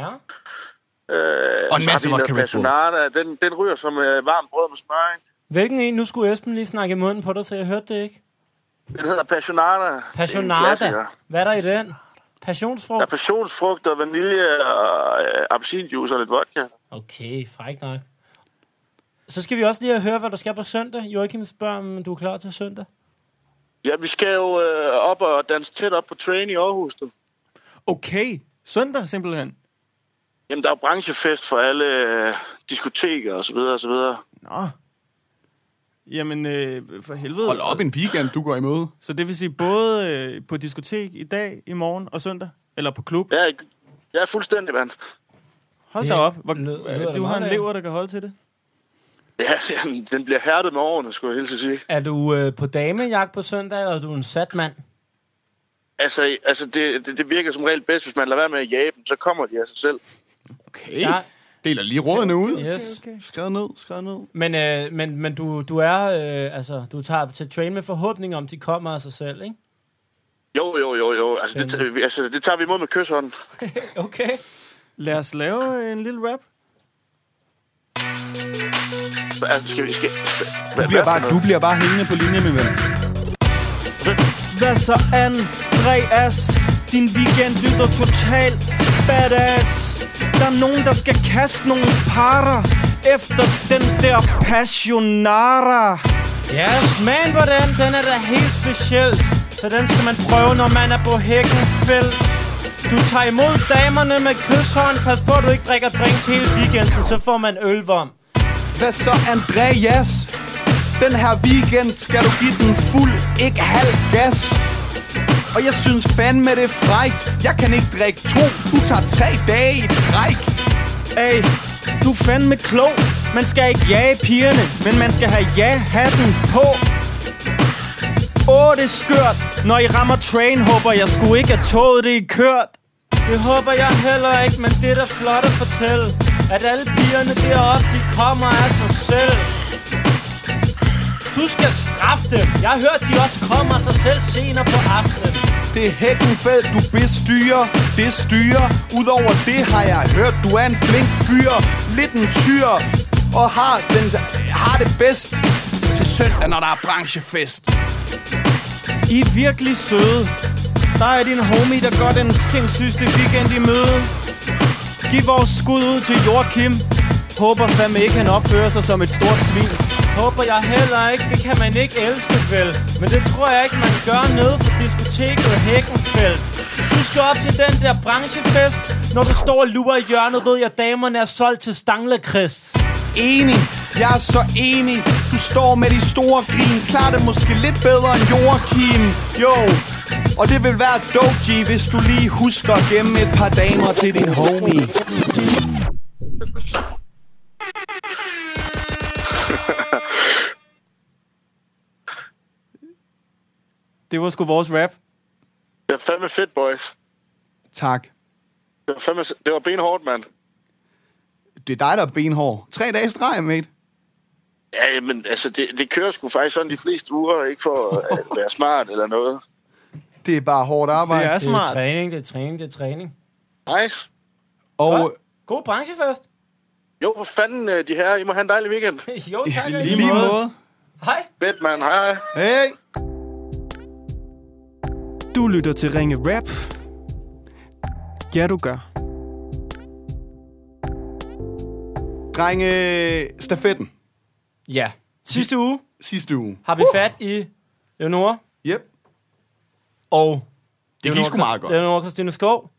Øh, Og en så masse har vi noget vodka Red Bull. Personata, den, den ryger som øh, varmt brød med smør, ikke? Hvilken en? Nu skulle Esben lige snakke i munden på dig, så jeg hørte det ikke. Den hedder Passionata. Det er en Passionata. klassiker. Hvad er der i den? Der er Passionsfrugt. passionsfrugt og vanilje og øh, appelsinjuice og lidt vodka. Okay, fræk nok. Så skal vi også lige høre, hvad du skal på søndag. Joachim spørger, om du er klar til søndag. Ja, vi skal jo øh, op og danse tæt op på train i Aarhus. Du. Okay, søndag simpelthen. Jamen, der er jo branchefest for alle øh, diskoteker og så videre og så videre. Nå. Jamen, øh, for helvede. hold op en weekend, du går i møde. Så det vil sige både øh, på diskotek i dag, i morgen og søndag? Eller på klub? Jeg er, jeg er fuldstændig, mand. Hold Det da op. Hvor, lød- øh, lyder da du har en meget lever, der kan holde til det. Ja, jamen, den bliver hærdet med årene, skulle jeg hilse at sige. Er du øh, på damejagt på søndag, eller er du en sat mand? Altså, altså det, det, det virker som regel bedst, hvis man lader være med at jage dem, så kommer de af sig selv. Okay. Ja. Deler lige rådene ud. Yes. Okay. Skrevet ned, skrevet ned. Men, øh, men, men du, du er, øh, altså, du tager til train med forhåbning om, de kommer af sig selv, ikke? Jo, jo, jo, jo. Altså, det, tager vi- altså, det tager vi imod med kysshånden. Okay. Lad os lave øh, en lille rap. Altså, skal vi... Skal, skal, Du bliver bare, du bliver bare hængende på linje, min ven. Hvad så, Andreas? Din weekend lyder totalt badass. Der er nogen, der skal kaste nogle parer efter den der passionara. Ja, smagen på den, den er da helt speciel. Så den skal man prøve, når man er på Hækkenfeldt. Du tager imod damerne med kysshånd. Pas på, at du ikke drikker drinks hele weekenden, så får man ølvom. Hvad så, Andreas? Den her weekend skal du give den fuld, ikke halv gas. Og jeg synes fandme, det er frækt. Jeg kan ikke drikke to, du tager tre dage i træk. Hey, du er fandme klog. Man skal ikke jage pigerne, men man skal have ja-hatten på. Åh, det er skørt. Når I rammer train, håber jeg sgu ikke, at toget det er kørt. Det håber jeg heller ikke, men det er da flot at fortælle. At alle pigerne deroppe, de kommer af sig selv. Du skal straffe dem. Jeg har hørt, de også kommer sig selv senere på aftenen. Det er Hækkenfeldt, du bestyrer, det styrer. Udover det har jeg hørt, du er en flink fyr, lidt en tyr, og har, den, har det bedst til søndag, når der er branchefest. I er virkelig søde. Der er din homie, der går den sindssygste weekend i møde. Giv vores skud ud til Joachim. Håber fandme ikke, han opfører sig som et stort svin. Håber jeg heller ikke, det kan man ikke elske vel Men det tror jeg ikke, man gør nede for diskoteket Hækkenfeldt Du skal op til den der branchefest Når du står og lurer i hjørnet, ved jeg, at damerne er solgt til Stanglekrist Enig, jeg er så enig. Du står med de store grin. Klar det måske lidt bedre end Joachim. Jo, og det vil være dope, G, hvis du lige husker at gemme et par damer til din homie. Det var sgu vores rap. Det var fandme fedt, boys. Tak. Det var, fandme, det var benhårdt, mand. Det er dig, der er benhård. Tre dage i streg, mate. Ja, men altså, det, det kører sgu faktisk sådan de fleste uger, ikke for at være smart eller noget. Det er bare hårdt arbejde. Det er Det er smart. træning, det er træning, det er træning Nice. Og God branchefest Jo, for fanden, øh, de her. I må have en dejlig weekend. Jo tak, I og lige måde. Hej Fedt, mand. Hej, hej. hey, Du lytter til Ringe Rap. Ja, du gør. drenge, stafetten Ja, sidste uge sidste uge. har vi fat i Leonora Uh! Yep. og Det gik sgu meget godt. Leonora Christine Skov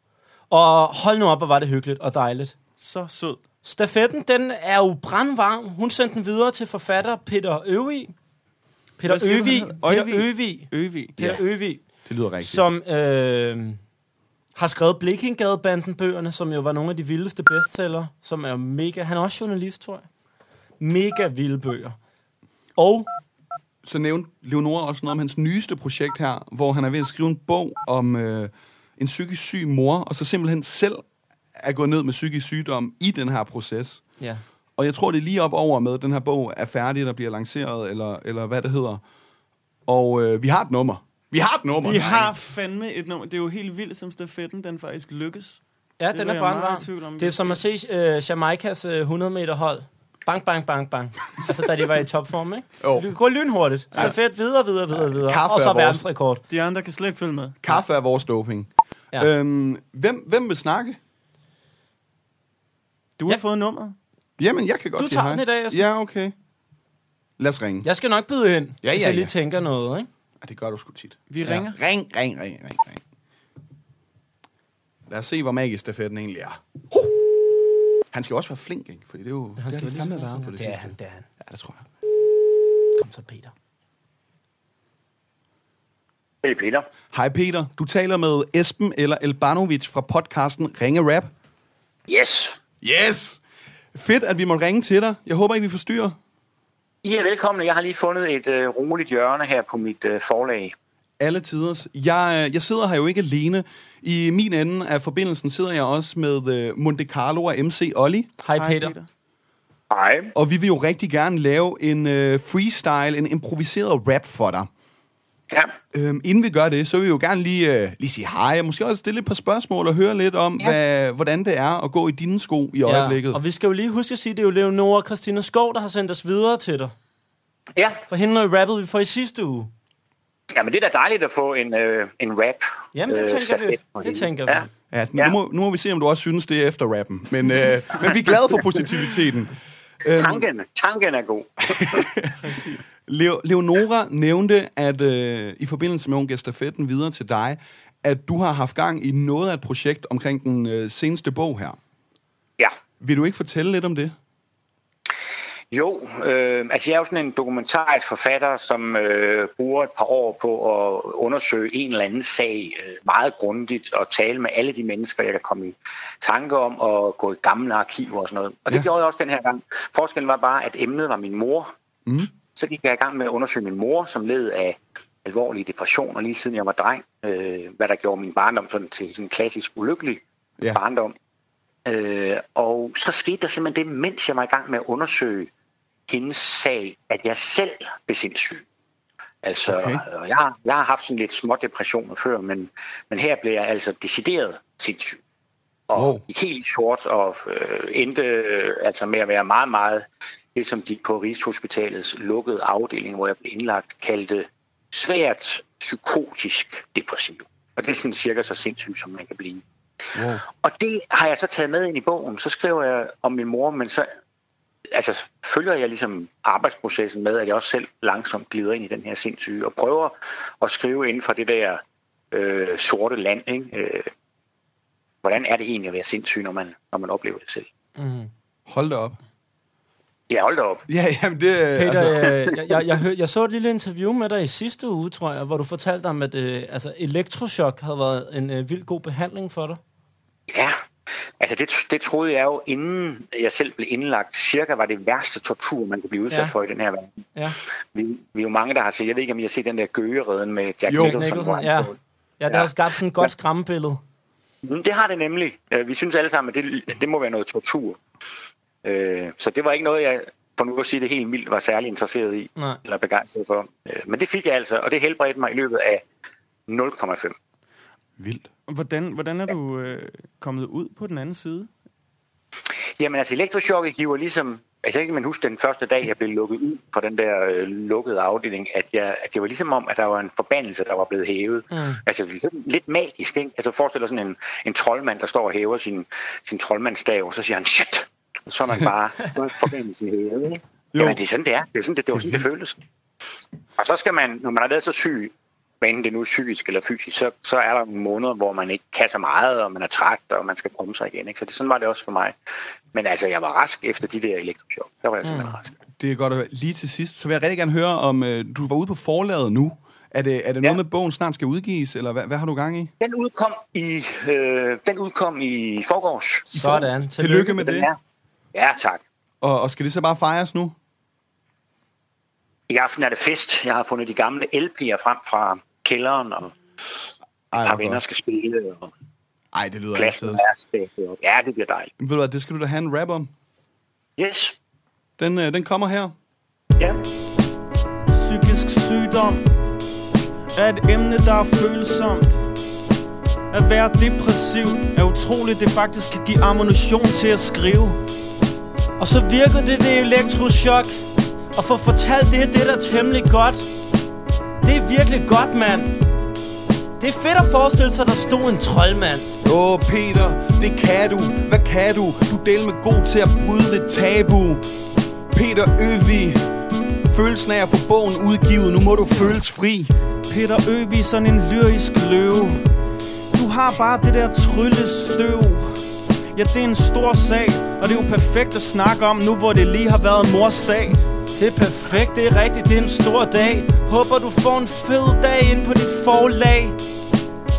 Og hold nu op, hvor var det hyggeligt og dejligt Så sød. Stafetten, den er jo brandvarm. Hun sendte den videre til forfatter Peter Øvig. Peter Hvad siger du, Øvig. han hedder? Peter Øvig? Øvig. Øvi. Peter Øvig, Det lyder rigtigt. som øh, har skrevet Blikkingadebanden-bøgerne, som jo var nogle af de vildeste bestsellere, som er mega... Han er også journalist, tror jeg. Mega vilde bøger. Og så nævnte Leonora også noget om hans nyeste projekt her, hvor han er ved at skrive en bog om øh, en psykisk syg mor, og så simpelthen selv er gået ned med psykisk sygdom i den her proces. ja, Og jeg tror, det er lige op over med, at den her bog er færdig, der bliver lanceret, eller, eller hvad det hedder. Og øh, vi har et nummer. Vi har et nummer. Vi drenge. har fandme et nummer. Det er jo helt vildt, som stafetten den faktisk lykkes. ja Det den var er jeg meget brandvarm. i tvivl om. Det er som at se øh, Jamaikas øh, 100 meter hold. Bang, bang, bang, bang. altså, da de var i topform, ikke? Jo. Det går lynhurtigt. Stafet videre, videre, videre, videre. Kaffe og er så vores. verdensrekord. De andre kan slet ikke følge med. Kaffe er vores doping. Ja. Ja. Øhm, hvem, hvem vil snakke? Du har Ja. fået nummeret. Jamen, jeg kan godt Du sige tager hej. den i dag, Esben. Ja, okay. Lad os ringe. Ja. Jeg skal nok byde ind, ja, Ja, hvis ja, jeg lige ja. tænker noget, ikke? Det gør du sgu tit. Vi ja. ringer. Ring, ring, ring, ring, ring. Lad os se, hvor magisk stafetten egentlig er. Ho! Han skal jo også være flink, ikke? Fordi det er jo... Han skal skal det være har de fandme lige så været på flink det som- sidste. Det er han, det er han. Ja, det tror jeg. Kom så, Peter. Hey Peter. Hej Peter, du taler med Esben eller Elbanovic fra podcasten Ringe Rap. Yes. Yes! Fedt, at vi må ringe til dig. Jeg håber ikke, vi forstyrrer. I er velkomne. Jeg har lige fundet et øh, roligt hjørne her på mit øh, forlag. Alle tiders. Jeg, øh, jeg sidder her jo ikke alene. I min ende af forbindelsen sidder jeg også med øh, Monte Carlo og MC Olli. Hej, Peter. Peter. Hej. Og vi vil jo rigtig gerne lave en øh, freestyle, en improviseret rap for dig. Ja. Øhm, inden vi gør det, så vil vi jo gerne lige, øh, lige sige hej, og måske også stille et par spørgsmål og høre lidt om, ja. hvad, hvordan det er at gå i dine sko i øjeblikket. og vi skal jo lige huske at sige, det er jo Leonora Christina Skov, der har sendt os videre til dig. Ja. For hende og rappede vi for i sidste uge. Jamen, det er da dejligt at få en, øh, en rap. Jamen, det øh, tænker vi. stafet på Det hende. tænker ja. vi. Ja, nu, Ja. Må, nu må vi se, om du også synes, det er efter rappen. Men, øh, men vi er glade for positiviteten. Øhm, Tanken, tanken er god. Leo, Leonora nævnte, at øh, i forbindelse med, at hun gav stafetten videre til dig, at du har haft gang i noget af et projekt omkring den øh, seneste bog her. Ja. Vil du ikke fortælle lidt om det? Jo, øh, altså jeg er jo sådan en dokumentarisk forfatter, som øh, bruger et par år på at undersøge en eller anden sag øh, meget grundigt og tale med alle de mennesker, jeg kan komme i tanke om og gå i gamle arkiver og sådan noget. Og det Ja. ja. gjorde jeg også den her gang. Forskellen var bare, at emnet var min mor. Mm. Så gik jeg i gang med at undersøge min mor, som led af alvorlige depressioner lige siden jeg var dreng. Øh, hvad der gjorde min barndom sådan, til sådan en klassisk ulykkelig Ja. ja. barndom. Øh, og så skete der simpelthen det, mens jeg var i gang med at undersøge hendes sag, at jeg selv blev sindssyg. Altså, okay. jeg, har- jeg har haft sådan lidt små depressioner før, men, men her blev jeg altså decideret sindssyg. Og wow. gik helt sort og øh, endte øh, altså med at være meget, meget, ligesom de på Rigshospitalets lukkede afdeling, hvor jeg blev indlagt, kaldte svært psykotisk depressiv. Og det er sådan cirka så sindssygt, som man kan blive. Wow. Og det har jeg så taget med ind i bogen. Så skriver jeg om min mor, men så altså, følger jeg ligesom arbejdsprocessen med, at jeg også selv langsomt glider ind i den her sindssyge, og prøver at skrive inden for det der øh, sorte land. Ikke? Øh, hvordan er det egentlig at være sindssyg, når man, når man oplever det selv? Mm. Hold da op. Ja, hold da op. Ja, jamen det... altså- Peter, altså- øh, jeg, jeg, jeg, hør, jeg så et lille interview med dig i sidste uge, tror jeg, hvor du fortalte om, at øh, altså, elektrochok havde været en øh, vild god behandling for dig. Ja, altså det, det troede jeg jo, inden jeg selv blev indlagt, cirka var det værste tortur, man kunne blive udsat Ja. ja. for i den her verden. Ja. Vi, vi er jo mange, der har set, jeg ved ikke, om I har set den der gøgereden med Jack Jo. Nicholson. hvor Nicholson, han ja. på- Ja, det Ja. har skabt sådan et godt skræmmebillede. Mm, Det har det nemlig. Øh, Vi synes alle sammen, at det, det må være noget tortur. Øh, Så det var ikke noget, jeg for nu at sige det helt mildt, var særlig interesseret i Nej. eller begejstret for. Øh, Men det fik jeg altså, og det helbredte mig i løbet af 0,5. Vildt. Hvordan, hvordan er du øh, kommet ud på den anden side? Jamen altså, elektrochokket giver ligesom... Altså, jeg kan man huske den første dag, jeg blev lukket ud fra den der øh, lukkede afdeling, at, jeg, at det var ligesom om, at der var en forbandelse, der var blevet hævet. Mm. Altså, det er sådan lidt magisk, ikke? Altså, forestil dig sådan en, en troldmand, der står og hæver sin, sin troldmandsstav, og så siger han, shit! Og så er man bare så er forbandelsen hævet, ikke? Jo. Jamen, det er sådan, det er. Det, er sådan, det, det var sådan, det føles. Og så skal man, når man har været så syg, hvad enten det nu er psykisk eller fysisk, så, så er der nogle måneder, hvor man ikke kan så meget, og man er træt, og man skal komme sig igen. Ikke? Så det, sådan var det også for mig. Men altså, jeg var rask efter de der elektrochok. Der var jeg simpelthen mm. rask. Det er godt at høre. Lige til sidst, så vil jeg rigtig gerne høre, om øh, du var ude på forlaget nu. Er det, er det ja. noget med, at bogen snart skal udgives, eller hvad, hvad har du gang i? Den udkom i, øh, den udkom i forgårs. Sådan. Tillykke, Tillykke med Den det. er. Ja, tak. Og, og skal det så bare fejres nu? I aften er det fest. Jeg har fundet de gamle LP'er frem fra kælderen, og Ej, har hvor venner godt. skal spille, og Ej det lyder ikke glassen sødt. er spækket op. Ja, det bliver dejligt. Ved du hvad, det skal du da have en rap om. Yes. Den, øh, den kommer her. Ja. Psykisk sygdom er et emne, der er følsomt. At være depressiv er utroligt, det faktisk kan give ammunition til at skrive. Og så virkede det det elektrochok. Og få fortalt det, det er da temmelig godt. Det er virkelig godt, mand. Det er fedt at forestille sig, at der stod en troldmand. Åh, Peter, det kan du. Hvad kan du? Du del med god til at bryde det tabu. Peter Øvi, følelsen af at få bogen udgivet. Nu må du føles fri. Peter Øvig, sådan en lyrisk løve. Du har bare det der tryllestøv. Ja, det er en stor sag, og det er jo perfekt at snakke om nu, hvor det lige har været morsdag. Det er perfekt, det er rigtigt, det er en stor dag. Håber du får en fed dag ind på dit forlag.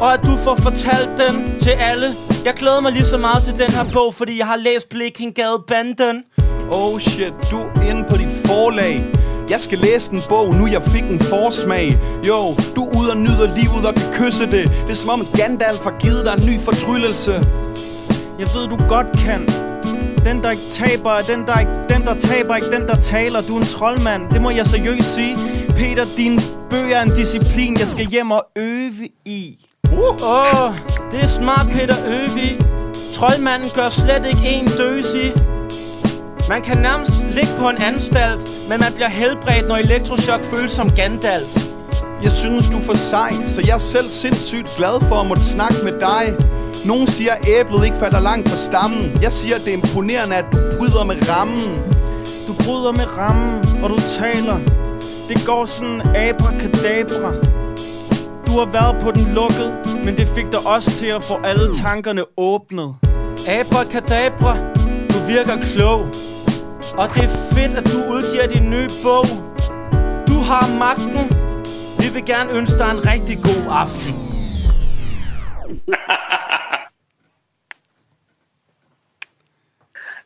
Og at du får fortalt den til alle. Jeg glæder mig lige så meget til den her bog, fordi jeg har læst Blikengade Banden. Oh shit, du er inde på dit forlag. Jeg skal læse den bog, nu jeg fik en forsmag. Jo, du er ude og nyder livet og kan kysse det. Det er som om Gandalf har givet dig en ny fortryllelse. Jeg ved, du godt kan. Den, der ikke taber, er den, der ikke... Den, der taber, ikke den, der taler. Du er en troldmand, det må jeg seriøst sige. Peter, din bøger er en disciplin, jeg skal hjem og øve i. Åh, oh, det er smart, Peter Øvig. Troldmanden gør slet ikke en døs i. Man kan nærmest ligge på en anstalt, men man bliver helbredt, når elektrochok føles som Gandalf. Jeg synes, du er for sej, så jeg er selv sindssygt glad for at måtte snakke med dig. Nogen siger, at æblet ikke falder langt fra stammen. Jeg siger, at det er imponerende, at du bryder med rammen. Du bryder med rammen, og du taler. Det går sådan abracadabra. Du har været på den lukket, men det fik dig også til at få alle tankerne åbnet. Abracadabra, du virker klog. Og det er fedt, at du udgiver din nye bog. Du har magten. Vi vil gerne ønske dig en rigtig god aften.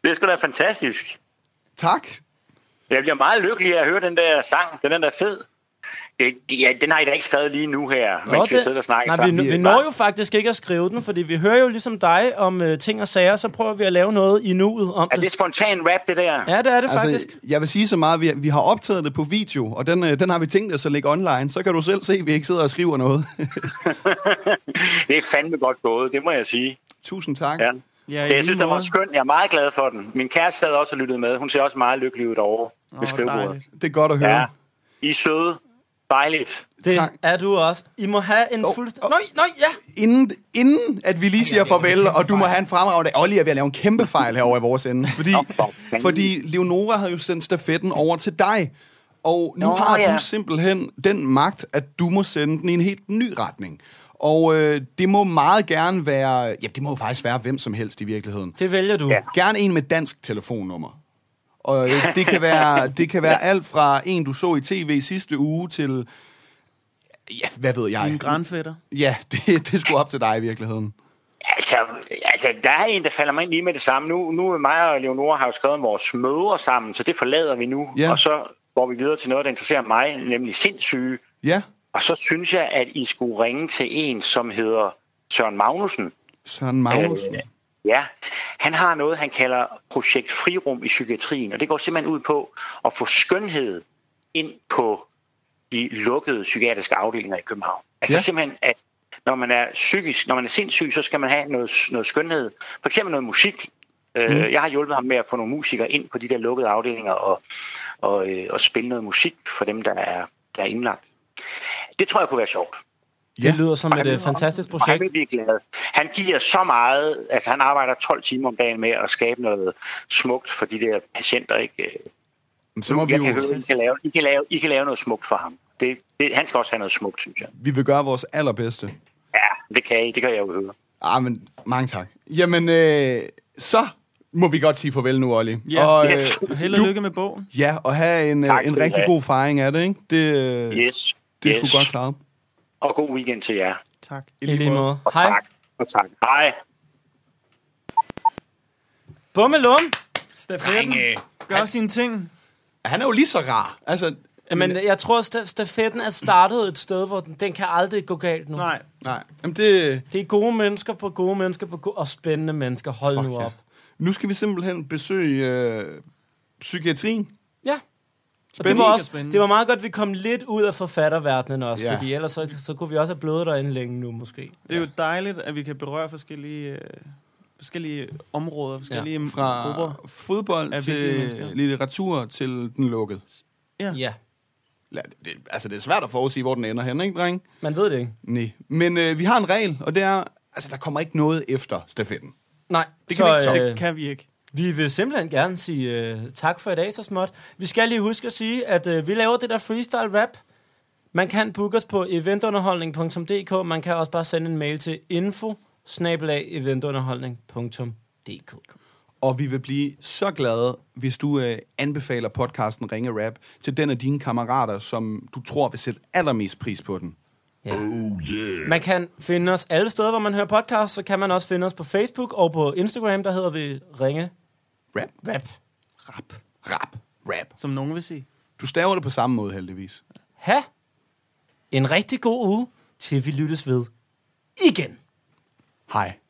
Det er sgu da fantastisk. Tak. Jeg bliver meget lykkelig af at høre den der sang. Den er da fed. Det, ja, den har I da ikke skrevet lige nu her, Nå, Nå, mens det, vi det- sidder og snakker Nej, sammen. vi, vi når jo faktisk ikke at skrive den, fordi vi hører jo ligesom dig om øh, ting og sager, så prøver vi at lave noget i nuet om Er det. det spontan rap, det der? Ja, det er Altså, det faktisk. Jeg vil sige så meget, vi, vi har optaget det på video, og den, øh, den har vi tænkt os at lægge online. Så kan du selv se, at vi ikke sidder og skriver noget. det er fandme godt gået, det må jeg sige. Tusind tak. Ja. Ja, Ja, jeg synes, den var måde. skøn. Jeg er meget glad for den. Min kæreste havde også lyttet med. Hun ser også meget lykkelig ud over ved skrivebordet. Det er godt at høre. Ja. I er søde. Dejligt. Det Tak. er du også. I må have en oh, fuldstændig... Oh. Nøj, nøj, ja! Inden, inden at vi lige siger farvel, og du må have en fremragende... Olli er ved at lave en kæmpe fejl herovre i vores ende. Fordi, for fanden. fordi Leonora havde jo sendt stafetten over til dig. Og nu Nå, har du ja. simpelthen den magt, at du må sende den i en helt ny retning. Og øh, det må meget gerne være... Ja, det må jo faktisk være hvem som helst i virkeligheden. Det vælger du. Ja. Gerne en med dansk telefonnummer. Og øh, det kan være, det kan være alt fra en, du så i tv sidste uge, til... Ja, hvad ved jeg? Din grandfætter. Ja, det, det skulle op til dig i virkeligheden. Altså, altså, der er en, der falder mig ind lige med det samme. Nu, nu er mig og Leonora har jo skrevet vores mødre sammen, så det forlader vi nu. Ja. Og så går vi videre til noget, der interesserer mig, nemlig sindssyge. Ja, Og så synes jeg, at I skulle ringe til en, som hedder Søren Magnussen. Søren Magnussen. Øh, ja, han har noget, han kalder projekt frirum i psykiatrien, og det går simpelthen ud på at få skønhed ind på de lukkede psykiatriske afdelinger i København. Altså Ja. ja. det er simpelthen, at når man er psykisk, når man er sindssyg, så skal man have noget, noget skønhed. For eksempel noget musik. Mm. Jeg har hjulpet ham med at få nogle musikere ind på de der lukkede afdelinger og, og, øh, og spille noget musik for dem, der er, der er indlagt. Det tror jeg kunne være sjovt. Det lyder som et øh, fantastisk Og han projekt. vil blive glad. Han giver så meget, altså han arbejder 12 timer om dagen med at skabe noget smukt for de der patienter. Ikke? Jamen, Så må vi Jeg kan jo, høre, I kan, lave, I, kan lave, I kan lave noget smukt for ham. Det, det, han skal også have noget smukt, synes jeg. vi vil gøre vores allerbedste. Ja, det kan I, det kan jeg jo høre. Ah, men mange tak. Jamen, øh, så må vi godt sige farvel nu, Olli. Ja. og, øh, Yes. Og held og Du- lykke med bogen. ja, og have en, øh, Tak en skal I rigtig have. god fejring af det, ikke? Det, øh, Yes. det er yes. sgu godt klaret. Og god weekend til jer. Tak. I lige måde. Og Hej. tak. Og tak. Hej. Bummelum! Stafetten gør sine ting. Han er jo lige så rar. Altså, Men jeg tror, sta- stafetten er startet et sted, hvor den, den kan aldrig gå galt nu. Nej. nej. Jamen, det, Det er gode mennesker på gode mennesker på gode, og spændende mennesker. Hold Fuck nu ja. op. nu skal vi simpelthen besøge øh, psykiatrien. Ja. Og det Spændende. var, også, Spændende. det var meget godt, at vi kom lidt ud af forfatterverdenen også, Ja. ja. fordi ellers så, så kunne vi også have blevet derinde længe nu, måske. Det er jo dejligt, at vi kan berøre forskellige, øh, forskellige områder, forskellige ja, Fra grupper. fodbold af til vigtige mennesker. litteratur til den lukkede. Ja, La- Det, altså, det er svært at forudsige, hvor den ender hen, ikke, dreng? man ved det ikke. Nej. Men øh, vi har en regel, og det er, altså, der kommer ikke noget efter stafetten. Nej, Det kan så, vi ikke øh, Det kan vi ikke. Vi vil simpelthen gerne sige øh, tak for i dag så småt. Vi skal lige huske at sige, at øh, vi laver det der freestyle rap. Man kan booke os på eventunderholdning.dk. Man kan også bare sende en mail til info eventunderholdning.dk. Og vi vil blive så glade, hvis du øh, anbefaler podcasten Ringe Rap til den af dine kammerater, som du tror vil sætte allermest pris på den. Man kan finde os alle steder, hvor man hører podcast. Så kan man også finde os på Facebook og på Instagram. Der hedder vi Ringe Rap, Rap. rap, rap, rap. Som nogen vil sige. Du staver det på samme måde, heldigvis. Ha' en rigtig god uge, til vi lyttes ved igen. Hej.